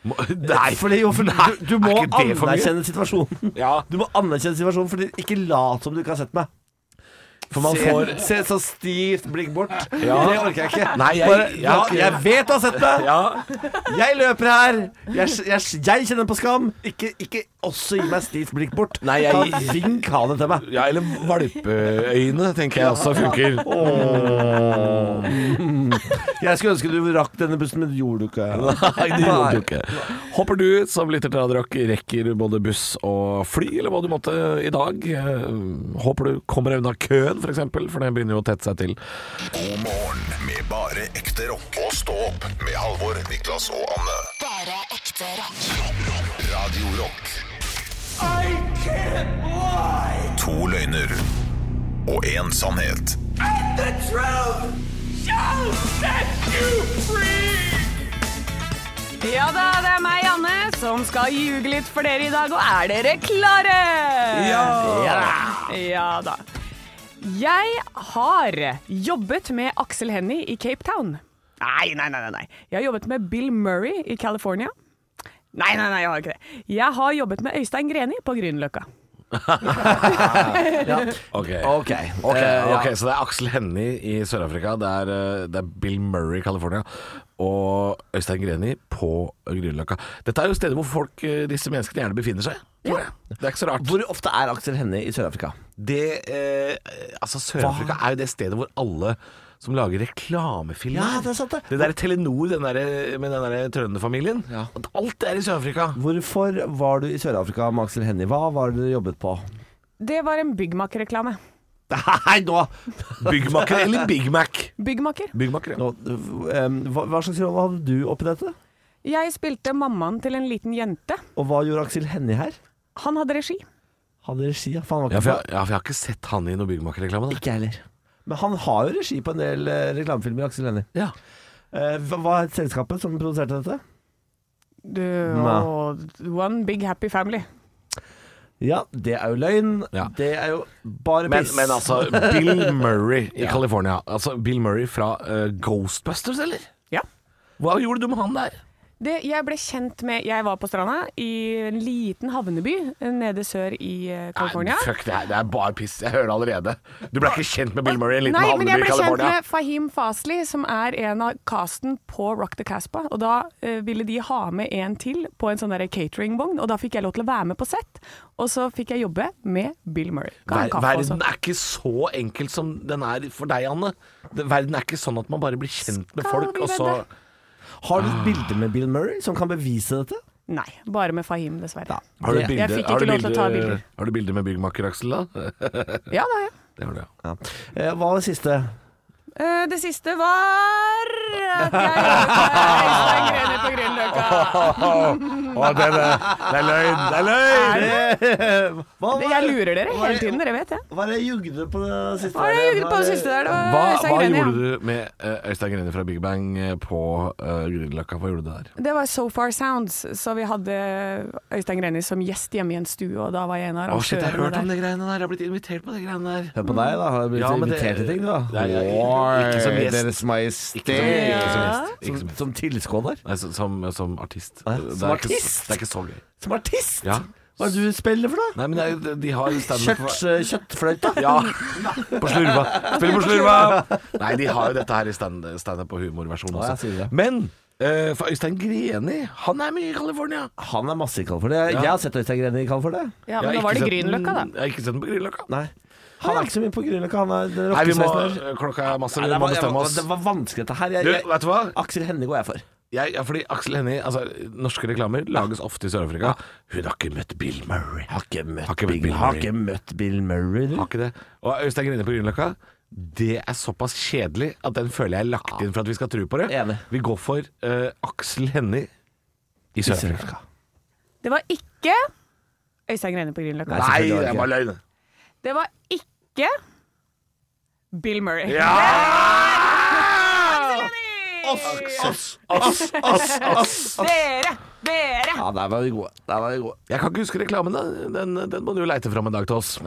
Speaker 3: Må- <laughs> Nei,
Speaker 4: Fordi, jo, for
Speaker 3: Nei,
Speaker 4: du, du må
Speaker 3: er ikke det for mye?
Speaker 4: anerkjenne situasjonen.
Speaker 3: Ja.
Speaker 4: Du må anerkjenne situasjonen, Fordi ikke lat som du ikke har sett meg.
Speaker 3: For man
Speaker 4: se,
Speaker 3: får
Speaker 4: se så stivt blikk bort.
Speaker 3: Ja.
Speaker 4: Det orker jeg ikke.
Speaker 3: Nei, jeg-
Speaker 4: Bare,
Speaker 3: jeg
Speaker 4: ja,
Speaker 3: har ikke-
Speaker 4: jeg vet du har sett meg!
Speaker 3: Ja.
Speaker 4: Jeg løper her! Jeg, jeg, jeg kjenner på skam. Ikke, ikke også gi meg stivt blikk bort.
Speaker 3: Nei, jeg-
Speaker 4: Ta Vink hanen til meg.
Speaker 3: Ja, eller valpeøyne, tenker jeg også funker.
Speaker 4: Jeg skulle ønske du rakk denne bussen, men det gjorde du ikke.
Speaker 3: <laughs> Nei, det gjorde du ikke. Håper du som lytter til Adrock rekker både buss og fly, eller hva du måtte i dag. Eh, Håper du kommer deg unna køen, f.eks., for, for den begynner jo å tette seg til.
Speaker 2: God morgen med bare ekte rock. Og stå opp med Halvor, Niklas og Anne.
Speaker 9: Bare ekte rock.
Speaker 2: Radio Rock.
Speaker 8: I can't lie!
Speaker 2: To To løgner og én sannhet.
Speaker 8: And the truth shall set you free!
Speaker 5: Ja da, det er meg, Anne, som skal ljuge litt for dere i dag. Og er dere klare?
Speaker 8: Ja.
Speaker 5: Ja, ja da. Jeg har jobbet med Aksel Hennie i Cape Town. Nei, nei, nei, nei, nei. Jeg har jobbet med Bill Murray i California. Nei, nei, nei, jeg har ikke det. Jeg har jobbet med Øystein Greni på Grünerløkka.
Speaker 3: Ja. Ok,
Speaker 4: Ok, ok,
Speaker 3: Eh,
Speaker 4: ja.
Speaker 3: ok, Så det er Aksel Hennie i Sør-Afrika, det, er, eh, det er Bill Murray i California og Øystein Greni på Grünerløkka. Dette er jo steder hvor folk, eh, disse menneskene gjerne befinner seg. tror jeg. Det er ikke så rart.
Speaker 4: Hvor ofte er Aksel Hennie i Sør-Afrika?
Speaker 3: Det, eh, altså Sør-Afrika er jo det stedet hvor alle som lager reklamefilmer
Speaker 4: Ja, det er sant det.
Speaker 3: der Telenor den der, eh, med den der trønderfamilien. Alt er i Sør-Afrika.
Speaker 4: Hvorfor var du i Sør-Afrika med Aksel Hennie? Hva var det du jobbet
Speaker 3: <laughs>
Speaker 4: på?
Speaker 5: Det var en byggmakerreklame.
Speaker 4: Nei, nå!
Speaker 3: Byggmaker eller Big Mac?
Speaker 5: Byggmaker.
Speaker 3: Byggmaker, ja.
Speaker 4: Nå, eh, hva, hva slags rolle hadde du oppi dette?
Speaker 5: Jeg spilte mammaen til en liten jente.
Speaker 4: Og hva gjorde Aksel Hennie her?
Speaker 5: Han hadde regi.
Speaker 4: Hadde regi, ja. For han var
Speaker 3: Ja,
Speaker 4: ikke
Speaker 3: for jeg, ja, for jeg har ikke sett han i noen byggmakerreklame. da.
Speaker 4: Ikke jeg heller. Men han har jo regi på en del eh, reklamefilmer, Aksel Hennie.
Speaker 3: Ja.
Speaker 4: Eh, hva hva het selskapet som produserte dette?
Speaker 5: Du,
Speaker 4: Nei.
Speaker 5: og one big happy family.
Speaker 4: Ja, det er jo løgn.
Speaker 3: Ja.
Speaker 4: Det er jo bare
Speaker 3: Men,
Speaker 4: piss.
Speaker 3: men altså, Bill Murray i California. Altså Bill Murray fra eh, Ghostbusters, eller?
Speaker 5: Ja.
Speaker 3: Hva gjorde du med han der?
Speaker 5: Det, jeg ble kjent med Jeg var på stranda i en liten havneby nede sør i eh, California.
Speaker 3: Nei, fuck det her, det er bare piss. Jeg hører det allerede. Du ble ikke kjent med Bill Murray i en liten
Speaker 5: Nei, men
Speaker 3: havneby
Speaker 5: jeg
Speaker 3: i
Speaker 5: ble kjent
Speaker 3: California?
Speaker 5: med Fahim Fasli, som er en av casten på Rock the Caspa. Og da eh, ville de ha med en til på en sånn der cateringvogn, og da fikk jeg lov til å være med på sett. Og så fikk jeg jobbe med Bill Murray. Ga han
Speaker 3: Ver
Speaker 5: kaffe altså? og
Speaker 3: verden er ikke så enkel som den er for deg, Anne. Det- Verden er ikke sånn at man bare blir kjent med
Speaker 5: Skal
Speaker 3: folk,
Speaker 5: vi
Speaker 3: og så
Speaker 5: vedde?
Speaker 4: Har du et bilde med Bill Murray som kan bevise dette?
Speaker 5: sånn. Nei, bare med Fahim, dessverre.
Speaker 3: har du
Speaker 5: Jeg-
Speaker 3: bilde,
Speaker 5: Jeg fikk
Speaker 3: har du
Speaker 5: ikke lov til å ta
Speaker 3: bilde-
Speaker 5: bilder.
Speaker 3: Har du bilde med byggmaker Aksel, da? <laughs> det
Speaker 5: Ja, det har jeg.
Speaker 3: har du, ja.
Speaker 4: Ja. Eh, Hva var det <laughs> siste?
Speaker 5: Eh, Det siste var at jeg jobbet med Øystein Greni på
Speaker 3: <laughs>
Speaker 5: Grünerløkka.
Speaker 3: det er løgn! Det er løgn!
Speaker 4: Hva var
Speaker 5: Jeg lurer dere hele tiden, dere vet det.
Speaker 4: Hva er det jeg jugde på det siste?
Speaker 5: Hva er det jeg jugde på det
Speaker 4: Hva er
Speaker 5: siste der? Det var
Speaker 3: Hva,
Speaker 5: Øystein
Speaker 3: hva
Speaker 5: Greni, ja.
Speaker 3: gjorde du med eh, Øystein Greni fra Big Bang eh, på uh, Grünerløkka? Hva gjorde du der?
Speaker 5: Det var So Far Sounds, så vi hadde Øystein Greni som gjest hjemme i en stue, og da var jeg en av
Speaker 3: Å, shit, jeg har hørt om
Speaker 5: arrangørene der.
Speaker 3: de greiene der. Jeg har blitt invitert på de greiene der.
Speaker 4: Hør på deg, da. Har du blitt
Speaker 3: Ja, men det-
Speaker 4: invitert til ting, du, da?
Speaker 3: Nei, jeg- ikke- ikke som gjest.
Speaker 4: Deres Majestet.
Speaker 3: Ikke som
Speaker 5: Ja.
Speaker 3: gjest. Ikke som,
Speaker 4: Som, som tilskuer?
Speaker 3: nei, som, som, som artist.
Speaker 4: Hæ?
Speaker 3: Det er
Speaker 4: Som
Speaker 3: ikke så-
Speaker 4: artist?
Speaker 3: Det er ikke så gøy.
Speaker 4: Som artist?
Speaker 3: Ja.
Speaker 4: Hva er det du spiller for, da?
Speaker 3: Nei, men det er, de har standup
Speaker 4: Kjøtt, eh, kjøttfløyta?
Speaker 3: Ja, på slurva. Spiller på slurva! Nei, de har jo dette her i stand- standup og humorversjon
Speaker 4: Å, jeg sier
Speaker 3: også.
Speaker 4: det.
Speaker 3: Men eh, for Øystein Greni, han er mye i California.
Speaker 4: Han er masse i California. Jeg har sett Øystein Greni i California.
Speaker 3: Jeg
Speaker 5: Ja, men
Speaker 3: har
Speaker 5: da var
Speaker 3: ikke
Speaker 5: det
Speaker 3: sett den-
Speaker 5: Grünerløkka, da.
Speaker 3: Jeg har ikke sett den på Grünerløkka.
Speaker 4: Nei. Han er ikke så mye på Grünerløkka. Han er den
Speaker 3: Nei, vi må,
Speaker 4: rockesveisen der.
Speaker 3: klokka er masse, vi
Speaker 4: Nei, det,
Speaker 3: må
Speaker 4: var- jeg
Speaker 3: bestemme
Speaker 4: var-
Speaker 3: oss.
Speaker 4: det var vanskelig, dette her. Jeg,
Speaker 3: Du,
Speaker 4: jeg,
Speaker 3: vet du hva?
Speaker 4: Aksel Hennie går jeg for.
Speaker 3: Jeg, ja, fordi Aksel Hennie, altså, norske reklamer lages ofte i Sør-Afrika. Hun har ikke møtt Bill Murray.
Speaker 4: Har ikke møtt,
Speaker 3: Har ikke møtt
Speaker 4: Bill,
Speaker 3: Bill
Speaker 4: har
Speaker 3: Murray.
Speaker 4: ikke møtt Bill Murray, du.
Speaker 3: Har ikke det. Og Øystein Greni på Grünerløkka, det er såpass kjedelig at den føler jeg er lagt inn for at vi skal tro på det.
Speaker 4: Enig.
Speaker 3: Vi går for eh, Aksel Hennie i Sør-Afrika.
Speaker 5: Det var ikke Øystein Greni på Grünerløkka.
Speaker 4: Nei. selvfølgelig var det ikke.
Speaker 3: løgn.
Speaker 5: Det var ikke Bill Murray. <laughs>
Speaker 3: Ja!
Speaker 4: Ass,
Speaker 5: Dere! Dere!
Speaker 4: Ja, der var vi gode. Der var vi gode.
Speaker 3: Jeg kan ikke huske reklamen. da. Den, den må du jo leite fram en dag til oss.
Speaker 5: Må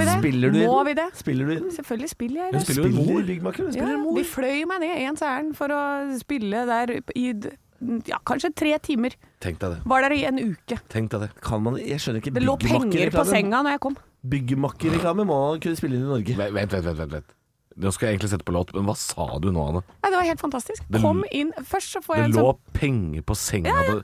Speaker 5: vi det?
Speaker 4: Spiller du i
Speaker 5: Må
Speaker 4: den?
Speaker 5: vi det?
Speaker 4: Spiller du i den?
Speaker 5: Selvfølgelig spiller jeg i
Speaker 3: Hun
Speaker 5: det.
Speaker 3: spiller jo en
Speaker 4: Spiller
Speaker 3: mor.
Speaker 4: Big Mac, eller
Speaker 5: Ja,
Speaker 4: spiller mor?
Speaker 5: de fløy meg ned ens ærend for å spille der i d- ja, kanskje tre timer.
Speaker 3: Tenk deg det.
Speaker 5: Var der i en uke.
Speaker 3: Tenk deg det.
Speaker 4: Kan man, jeg skjønner ikke
Speaker 5: Det lå penger på
Speaker 4: byggmakkerreklamen.
Speaker 5: senga når jeg kom.
Speaker 4: Byggmakkerreklame må man kunne spille inn i Norge.
Speaker 3: Vent, vent, vent. vent, vent. Nå skal jeg egentlig sette på låt, men hva sa du nå, Anne?
Speaker 5: Nei, det var helt fantastisk.
Speaker 3: Det-
Speaker 5: Kom inn først, så
Speaker 3: Det
Speaker 5: får jeg en
Speaker 3: lå
Speaker 5: sånn
Speaker 3: penger på senga. Ja,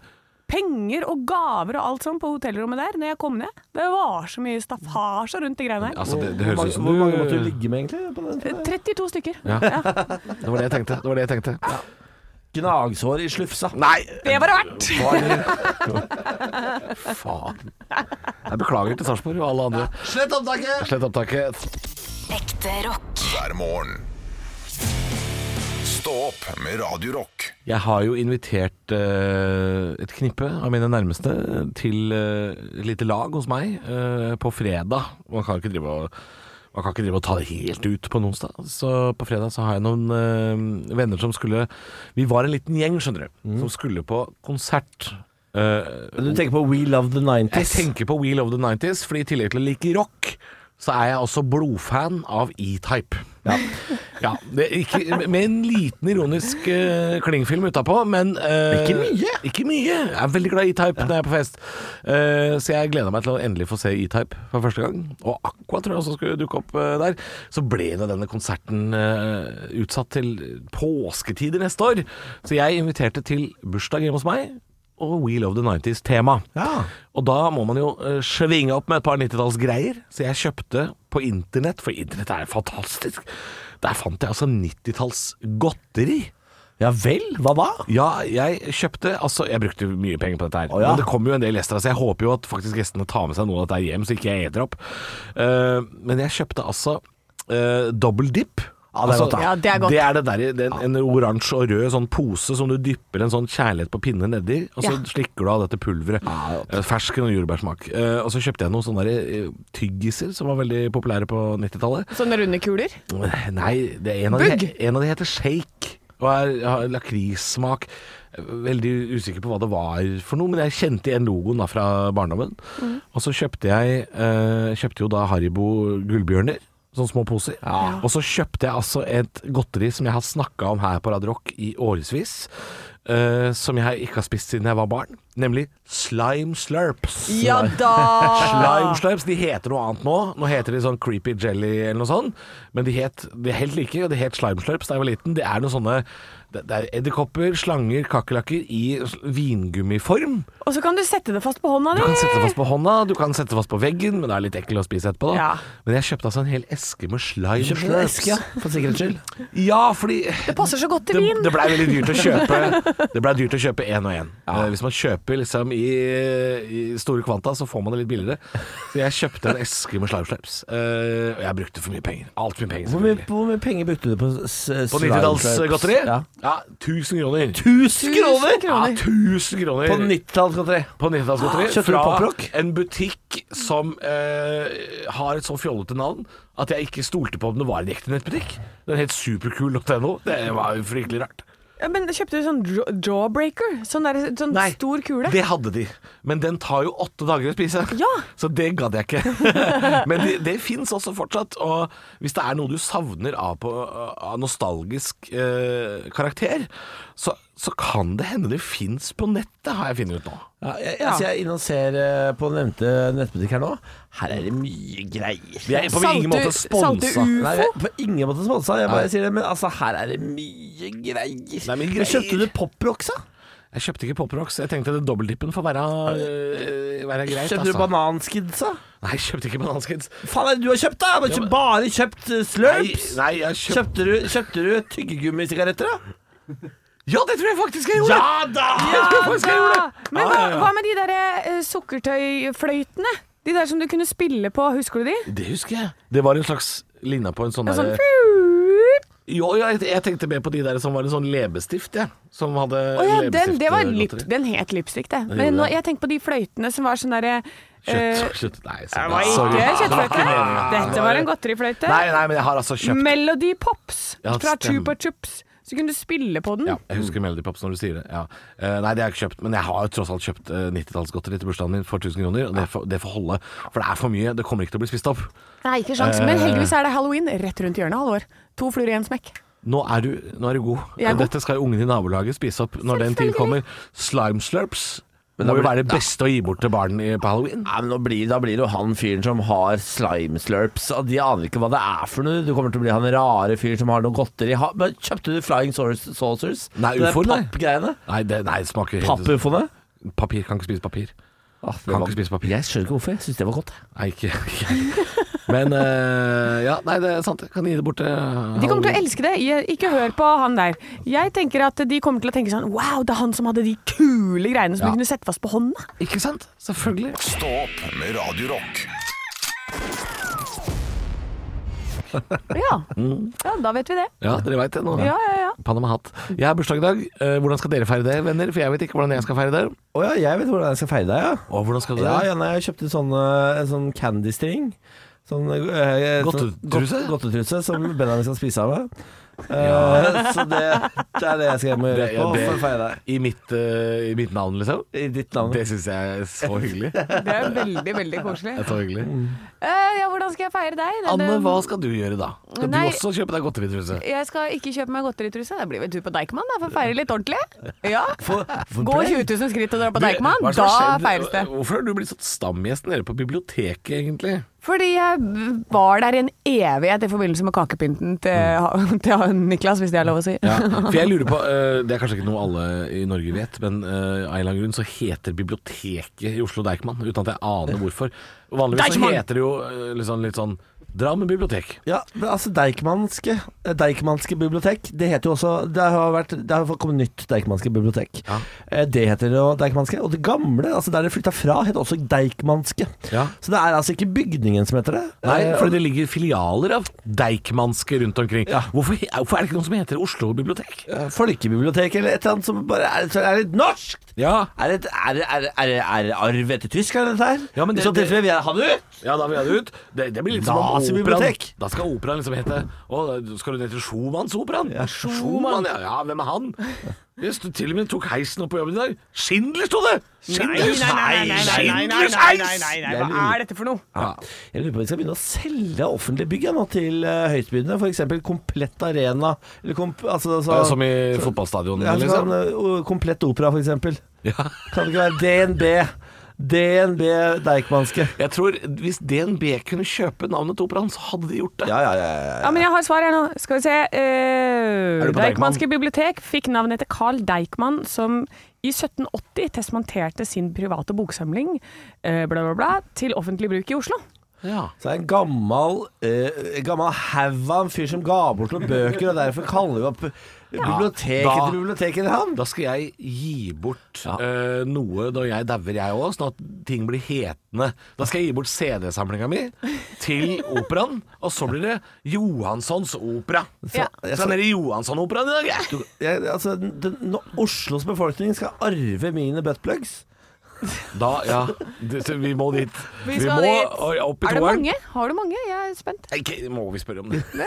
Speaker 5: penger og gaver og alt sånn på hotellrommet der når jeg kom ned. Det var så mye staffasje rundt de greiene her.
Speaker 3: Altså, det, det
Speaker 4: Hvor
Speaker 3: høres
Speaker 4: mange-
Speaker 3: ut som
Speaker 4: Hvor mange måtte du
Speaker 3: du
Speaker 4: ligge med, egentlig? På den?
Speaker 5: 32 stykker.
Speaker 3: Ja.
Speaker 5: Ja.
Speaker 3: Det var det jeg tenkte. Det var det jeg tenkte.
Speaker 4: Gnagsår i slufsa.
Speaker 3: Nei!
Speaker 5: Det var det verdt!
Speaker 3: Faen. Jeg beklager til Sarpsborg og alle andre.
Speaker 4: Slett opptaket!
Speaker 3: Slett opptaket.
Speaker 9: Ekte rock.
Speaker 2: hver morgen. Stå opp med Radio Rock.
Speaker 3: Jeg har jo invitert eh, et knippe av mine nærmeste til eh, et lite lag hos meg eh, på fredag. Man kan ikke drive og man kan ikke drive og ta det helt ut på en onsdag. Så på fredag så har jeg noen eh, venner som skulle Vi var en liten gjeng, skjønner du, som skulle på konsert. eh,
Speaker 4: du tenker på We Love the 90s?
Speaker 3: Jeg tenker på We Love the 90s, fordi i tillegg til å like rock, så er jeg også blodfan av E-Type. <laughs> Ja. det er ikke, med en liten ironisk eh, klingfilm utapå, men eh,
Speaker 4: Ikke mye.
Speaker 3: Ikke mye. Jeg er veldig glad i E-Type når jeg er på fest. Eh, så jeg gleder meg til å endelig få se E-Type for første gang. Og Aqua tror jeg også skulle dukke opp eh, der. Så ble nå denne konserten eh, utsatt til påsketider neste år. Så jeg inviterte til bursdag hjemme hos meg. Og We Love the 90s-tema. Og da må man jo eh, svinge opp med et par 90-tallsgreier. Så jeg kjøpte på internett, for internett er fantastisk. Der fant jeg altså 90-tallsgodteri.
Speaker 4: Ja vel, hva da?
Speaker 3: <laughs> Ja, jeg kjøpte Altså, jeg brukte mye penger på dette her.
Speaker 4: ja.
Speaker 3: Men det kommer jo en del gjester, så jeg håper jo at faktisk gjestene tar med seg noe av dette her hjem, så ikke jeg eter opp. Eh, men jeg kjøpte altså uh, double dip. Altså,
Speaker 4: Ja, det
Speaker 13: det
Speaker 4: er godt, da. Ja,
Speaker 13: er godt.
Speaker 3: Det er det der, i- det er en, en oransje og rød sånn pose som du dypper en sånn kjærlighet på pinne nedi, og så
Speaker 13: Ja.
Speaker 3: slikker du av dette pulveret. Eh, Fersken og jordbærsmak. Eh, og så kjøpte jeg noen sånne der, eh, tyggiser som var veldig populære på 90-tallet.
Speaker 5: Sånne runde kuler.
Speaker 3: Nei, det er en, av de,
Speaker 5: Bugg?
Speaker 3: en av de heter shake Og er, har lakrissmak Veldig usikker på hva det var for noe Men jeg kjente igjen logoen da fra barndommen
Speaker 5: Mm.
Speaker 3: Og så kjøpte jeg eh, Kjøpte jo da Haribo gullbjørner Sånne små poser Og så kjøpte jeg altså et godteri Som jeg har snakket om her på Radio Rock i årevis eh, Som jeg ikke har spist siden jeg var barn Nemlig Slime Slurps
Speaker 5: Ja da!
Speaker 3: Slime Slurps, de heter noe annet nå. Nå heter de sånn Creepy Jelly eller noe sånt. Men de, het, de er helt like, og de het Slime Slurps da jeg var liten. Det er noen sånne Det det er edderkopper, slanger, kakerlakker i s- vingummiform.
Speaker 5: Og så kan du sette det fast på hånda
Speaker 3: Du
Speaker 5: di.
Speaker 3: kan sette det fast på hånda, du kan sette det fast på veggen, men det er litt ekkel å spise etterpå, da.
Speaker 5: Ja.
Speaker 3: Men jeg kjøpte altså en hel eske med Slime
Speaker 4: Kjøpte en
Speaker 3: Slurps.
Speaker 4: eske, ja, for sikkerhets skyld.
Speaker 3: Ja, fordi
Speaker 5: Det passer så godt til
Speaker 3: det,
Speaker 5: vin.
Speaker 3: det blei veldig dyrt å kjøpe Det ble dyrt å kjøpe én og én. Eh, Hvis man kjøper liksom i, i store kvanta, så får man det litt billigere. Så jeg kjøpte en eske med slimeslaps. Eh, og jeg brukte for mye penger. Altfor mye penger.
Speaker 4: <laughs> Hvor mye,
Speaker 3: selvfølgelig.
Speaker 4: hvor mye penger brukte du på s- s-
Speaker 3: På 90-tallsgodteri?
Speaker 4: Ja.
Speaker 3: Ja, 1000 kroner.
Speaker 4: 1000 kroner?
Speaker 3: Ja, 1000 kroner.
Speaker 4: På 90-tallsgodteri.
Speaker 3: På 90-tallsgodteri.
Speaker 4: Kjøpte du poprock?
Speaker 3: Fra en butikk som eh, har et så fjollete navn at jeg ikke stolte på om det var en ekte nettbutikk. Den het superkul.no. Det var jo fryktelig rart.
Speaker 5: Ja, men kjøpte du sånn jaw- jawbreaker? Sånn, der, sånn
Speaker 3: Nei,
Speaker 5: stor kule?
Speaker 3: Det hadde de, men den tar jo åtte dager å spise.
Speaker 5: Ja.
Speaker 3: Så det gadd jeg ikke.
Speaker 5: <laughs>
Speaker 3: men det, det fins også fortsatt. Og hvis det er noe du savner av, på, av nostalgisk eh, karakter, så, så kan det hende det fins på nettet, har jeg funnet ut nå.
Speaker 4: Ja, jeg, jeg, så jeg er inne og ser eh, på nevnte nettbutikk her nå. Her er det mye greier.
Speaker 3: Vi er på ingen
Speaker 5: Salte-
Speaker 3: måte
Speaker 5: salte
Speaker 3: sponsa.
Speaker 5: ufo?
Speaker 4: Nei, jeg- på ingen måte sponsa, jeg
Speaker 3: Nei.
Speaker 4: bare sier det. Men altså, her er det mye greier.
Speaker 3: er mye
Speaker 4: Men Kjøpte du
Speaker 3: greier.
Speaker 4: poprocks, da?
Speaker 3: Jeg kjøpte ikke Poprox. Jeg tenkte det dobbeltdippen får være, eh, være greit.
Speaker 4: Kjøpte du
Speaker 3: altså.
Speaker 4: bananskids, da?
Speaker 3: Nei, jeg kjøpte ikke bananskids.
Speaker 4: Hva faen er det du har kjøpt, da? Jeg har ikke bare kjøpt eh,
Speaker 3: Nei,
Speaker 4: slurps?
Speaker 3: nei, jeg kjøpte
Speaker 4: Kjøpte du, kjøpte du tyggegummi-sigaretter, da?
Speaker 3: Ja, det tror jeg faktisk jeg gjorde! Ja da! Ja,
Speaker 5: Men hva, hva med de der eh, sukkertøyfløytene? De der som du kunne spille på, husker du de?
Speaker 3: Det husker jeg. Det var en slags Ligna på en sånn
Speaker 5: Ja, sånn,
Speaker 3: derre Jo, ja, jeg, jeg tenkte mer på de der som var en sånn leppestift, jeg. Som hadde eh,
Speaker 5: Å ja, den, det var lip,
Speaker 3: leppestiftgodteri.
Speaker 5: den het lipstick, det.
Speaker 3: gjorde
Speaker 5: Men nå,
Speaker 3: det.
Speaker 5: jeg tenker på de fløytene som var sånn derre eh,
Speaker 3: Kjøtt, kjøtt Nei,
Speaker 5: Det
Speaker 3: sorry.
Speaker 5: var
Speaker 3: Sorry.
Speaker 5: ikke kjøttfløyte. Dette var en godterifløyte.
Speaker 3: Nei, nei, men jeg har altså kjøpt
Speaker 5: Melody Pops
Speaker 3: Ja,
Speaker 5: fra
Speaker 3: stemmer.
Speaker 5: Chupa Chups. Så kunne du spille på den.
Speaker 3: ja, Jeg husker Melody Pops når du sier det. Ja. Eh, nei, det har jeg ikke kjøpt, men jeg har jo tross alt kjøpt eh, 90-tallsgodteri til bursdagen min for 1000 kroner. Og det får, det får holde, for det er for mye. Det kommer ikke til å bli spist opp.
Speaker 5: Nei, ikke sjans.
Speaker 3: Eh.
Speaker 5: Men heldigvis er det halloween rett rundt hjørnet. Halvor. To fluer i en smekk.
Speaker 3: Nå er du, nå er du god.
Speaker 5: Jeg er god.
Speaker 3: Dette skal jo ungene i nabolaget spise opp når den tid
Speaker 5: Selvfølgelig.
Speaker 3: kommer. Slime slurps må jo være det beste å gi bort til barn i, på halloween.
Speaker 4: Nei, men nå blir, Da blir det jo han fyren som har slime slurps, og de aner ikke hva det er for noe. Du kommer til å bli han rare fyren som har noe godteri. Ha, men kjøpte du flying saucers? saucers?
Speaker 3: Nei,
Speaker 4: Det der
Speaker 3: ufoen, nei.
Speaker 4: Pappgreiene?
Speaker 3: Nei, det, nei, det smaker
Speaker 4: Pappufoene?
Speaker 3: Papir, kan ikke spise papir.
Speaker 4: Ah, det
Speaker 3: Kan
Speaker 4: var-
Speaker 3: ikke spise papir.
Speaker 4: Jeg skjønner ikke hvorfor. Jeg syns det var godt. jeg.
Speaker 3: Nei, ikke, <laughs> ikke heller. Men eh, ja, nei, det er sant. Jeg kan gi det bort til
Speaker 5: De kommer til å elske det. Jeg- Ikke hør på han der. Jeg tenker at de kommer til å tenke sånn Wow, det er han som hadde de kule greiene som
Speaker 3: Ja.
Speaker 5: du kunne sette fast på hånda.
Speaker 3: Ikke sant? Selvfølgelig.
Speaker 2: Stå opp med Radio Rock.
Speaker 5: Ja. ja, da vet vi det.
Speaker 3: Mm. Ja, dere veit det nå.
Speaker 5: Ja, ja, ja.
Speaker 3: Panama-hatt. Jeg har bursdag i dag. Eh, Hvordan skal dere feire det, venner? For jeg vet ikke hvordan jeg skal feire det.
Speaker 4: Å ja, jeg vet hvordan jeg skal feire deg, ja.
Speaker 3: Og hvordan skal du
Speaker 4: Ja,
Speaker 3: det?
Speaker 4: ja nei, jeg kjøpte sånn, eh, en sånn candy string. Sånn, eh, sånn
Speaker 3: Godtetruse?
Speaker 4: godt- Godtetruse som Benjamin skal spise av meg. Eh, <laughs> så det, det er det jeg skal hjem og gjøre
Speaker 3: Det- ja,
Speaker 4: etterpå
Speaker 3: det-
Speaker 4: for å feire deg.
Speaker 3: I mitt, eh, I mitt navn, liksom?
Speaker 4: I ditt navn.
Speaker 3: Det syns jeg er så hyggelig. Det
Speaker 5: Det er veldig, veldig koselig.
Speaker 3: er så hyggelig.
Speaker 5: Eh, ja, hvordan skal jeg feire deg? Det-
Speaker 3: Anne,
Speaker 5: det-
Speaker 3: hva skal du gjøre da? Skal
Speaker 5: eh, Nei.
Speaker 3: du også kjøpe deg godteritruse?
Speaker 5: Jeg skal ikke kjøpe meg godteritruse. Det blir vel tur på Deichman, da, for å feire litt ordentlig. Ja.
Speaker 3: for
Speaker 5: Gå
Speaker 3: ble?
Speaker 5: 20 000 skritt og dra på
Speaker 3: Du,
Speaker 5: Deichman,
Speaker 3: hva er det som
Speaker 5: da
Speaker 3: har skjedd?
Speaker 5: feires det.
Speaker 3: Hvorfor har du blitt sånn stamgjest nede på biblioteket, egentlig?
Speaker 5: Fordi jeg var der i en evighet i forbindelse med kakepynten til, til Niklas, hvis det er lov å si.
Speaker 3: Ja, for jeg lurer på, eh, det er kanskje ikke noe alle i Norge vet, men eh, av en eller annen grunn så heter biblioteket i Oslo Deichman, uten at jeg aner hvorfor. Vanligvis så
Speaker 4: Deichman!
Speaker 3: heter det jo eh, litt sånn, litt sånn Drammen bibliotek.
Speaker 4: Ja, men altså Deichmanske, eh, Deichmanske bibliotek Det heter jo også Det har, vært, det har kommet nytt Deichmanske bibliotek. Eh, Det heter jo Deichmanske. Og det gamle, altså der det flytta fra, het også Deichmanske.
Speaker 3: Ja.
Speaker 4: Så det er altså ikke bygningen som heter det.
Speaker 3: Nei,
Speaker 4: Eh,
Speaker 3: for det ligger filialer av Deichmanske rundt omkring. Hvorfor, hvorfor er det ikke noen som heter Oslo bibliotek?
Speaker 4: eh, Folkebiblioteket eller et eller annet som bare er, som er litt norsk!
Speaker 3: Ja.
Speaker 4: Er det er, det- er, det- er, det- er det arv etter tyskerne, dette her?
Speaker 3: Ja, men
Speaker 4: I
Speaker 3: det-
Speaker 4: så
Speaker 3: det-
Speaker 4: tilfelle vil jeg ha det ut!
Speaker 3: Ja, da vil jeg ha det ut. Det, det blir litt som om operaen.
Speaker 4: Nazibibliotek.
Speaker 3: Da skal operaen liksom hete Å, skal du ned til Schumannsoperaen? Ja, Schumann, ja, ja, hvem er han? Jeg sto, til og med tok heisen opp på jobben i dag. Schindler sto det! Schindlers heis! Schindlers heis!
Speaker 5: Hva er dette for noe?
Speaker 4: Ja. Jeg lurer på om vi skal begynne å selge offentlige bygg ja, nå til uh, høytbydende. F.eks. Komplett Arena. Eller komp altså, så,
Speaker 3: Ja, Som i fotballstadionet,
Speaker 4: ja, så kan,
Speaker 3: liksom.
Speaker 4: eh, Komplett Opera, f.eks. Kan det ikke være DNB? DNB Deichmanske.
Speaker 3: Jeg tror hvis DNB kunne kjøpe navnet til operaen, så hadde de gjort det.
Speaker 4: Ja, ja, ja, ja, ja.
Speaker 5: Ja, men jeg har svar her nå. Skal vi se. Eh,
Speaker 3: Er du på
Speaker 5: Deichmanske
Speaker 3: Deichman?
Speaker 5: bibliotek fikk navnet etter Carl Deichman, som i 1780 testamenterte sin private boksamling eh, bla, bla, bla, til offentlig bruk i Oslo.
Speaker 4: Så er det en gammel eh, en gammel haug av en fyr som ga bort noen bøker, og derfor kaller vi opp biblioteket
Speaker 3: da-
Speaker 4: til biblioteket til han.
Speaker 3: Da skal jeg gi bort eh, noe når jeg dauer, jeg òg, sånn at ting blir hetende. Da skal jeg gi bort CD-samlinga mi til operaen, og så blir det Johanssons opera.
Speaker 4: Ja.
Speaker 3: Så er det Johansson-operaen i dag, jeg.
Speaker 4: Du- Jeg, altså, den, den, Oslos befolkning skal arve mine buttplugs.
Speaker 3: Da, ja. Du, så vi må dit.
Speaker 5: Vi
Speaker 3: må
Speaker 5: skal dit.
Speaker 3: oi, opp i
Speaker 5: Er det
Speaker 3: toeren.
Speaker 5: mange? Har du mange? Jeg er spent.
Speaker 3: Nei, Ikke, må vi spørre om det?
Speaker 5: Ja,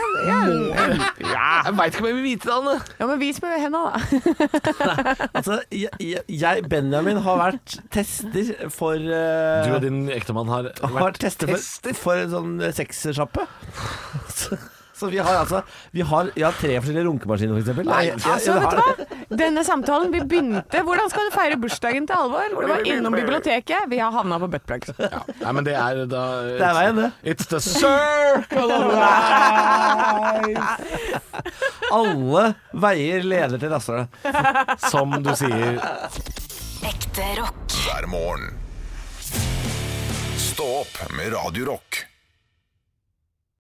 Speaker 3: Jeg veit ikke om jeg vil vite det, Anne.
Speaker 5: men vis med henda, da.
Speaker 4: Altså, jeg, jeg- jeg, Benjamin, har vært tester for eh,
Speaker 3: Du og din ektemann har
Speaker 4: har
Speaker 3: vært
Speaker 4: vært tester for, for en sånn seksersjappe. Så, så vi har altså Vi har, jeg har tre forskjellige runkemaskiner, for eksempel.
Speaker 5: Nei,
Speaker 4: Jeg- jeg-
Speaker 5: altså,
Speaker 4: jeg
Speaker 5: vet
Speaker 4: har-
Speaker 5: du hva? Denne samtalen, vi begynte Hvordan skal du feire bursdagen til Alvor? Du var innom biblioteket, vi har havna på buttplugs.
Speaker 3: Ja. Nei, men det er da
Speaker 4: Det er veien, det.
Speaker 3: It's the circle of
Speaker 4: Alle veier leder til rasshølet.
Speaker 3: Som du sier.
Speaker 9: Ekte rock.
Speaker 2: hver morgen. Stå opp med Radio Rock.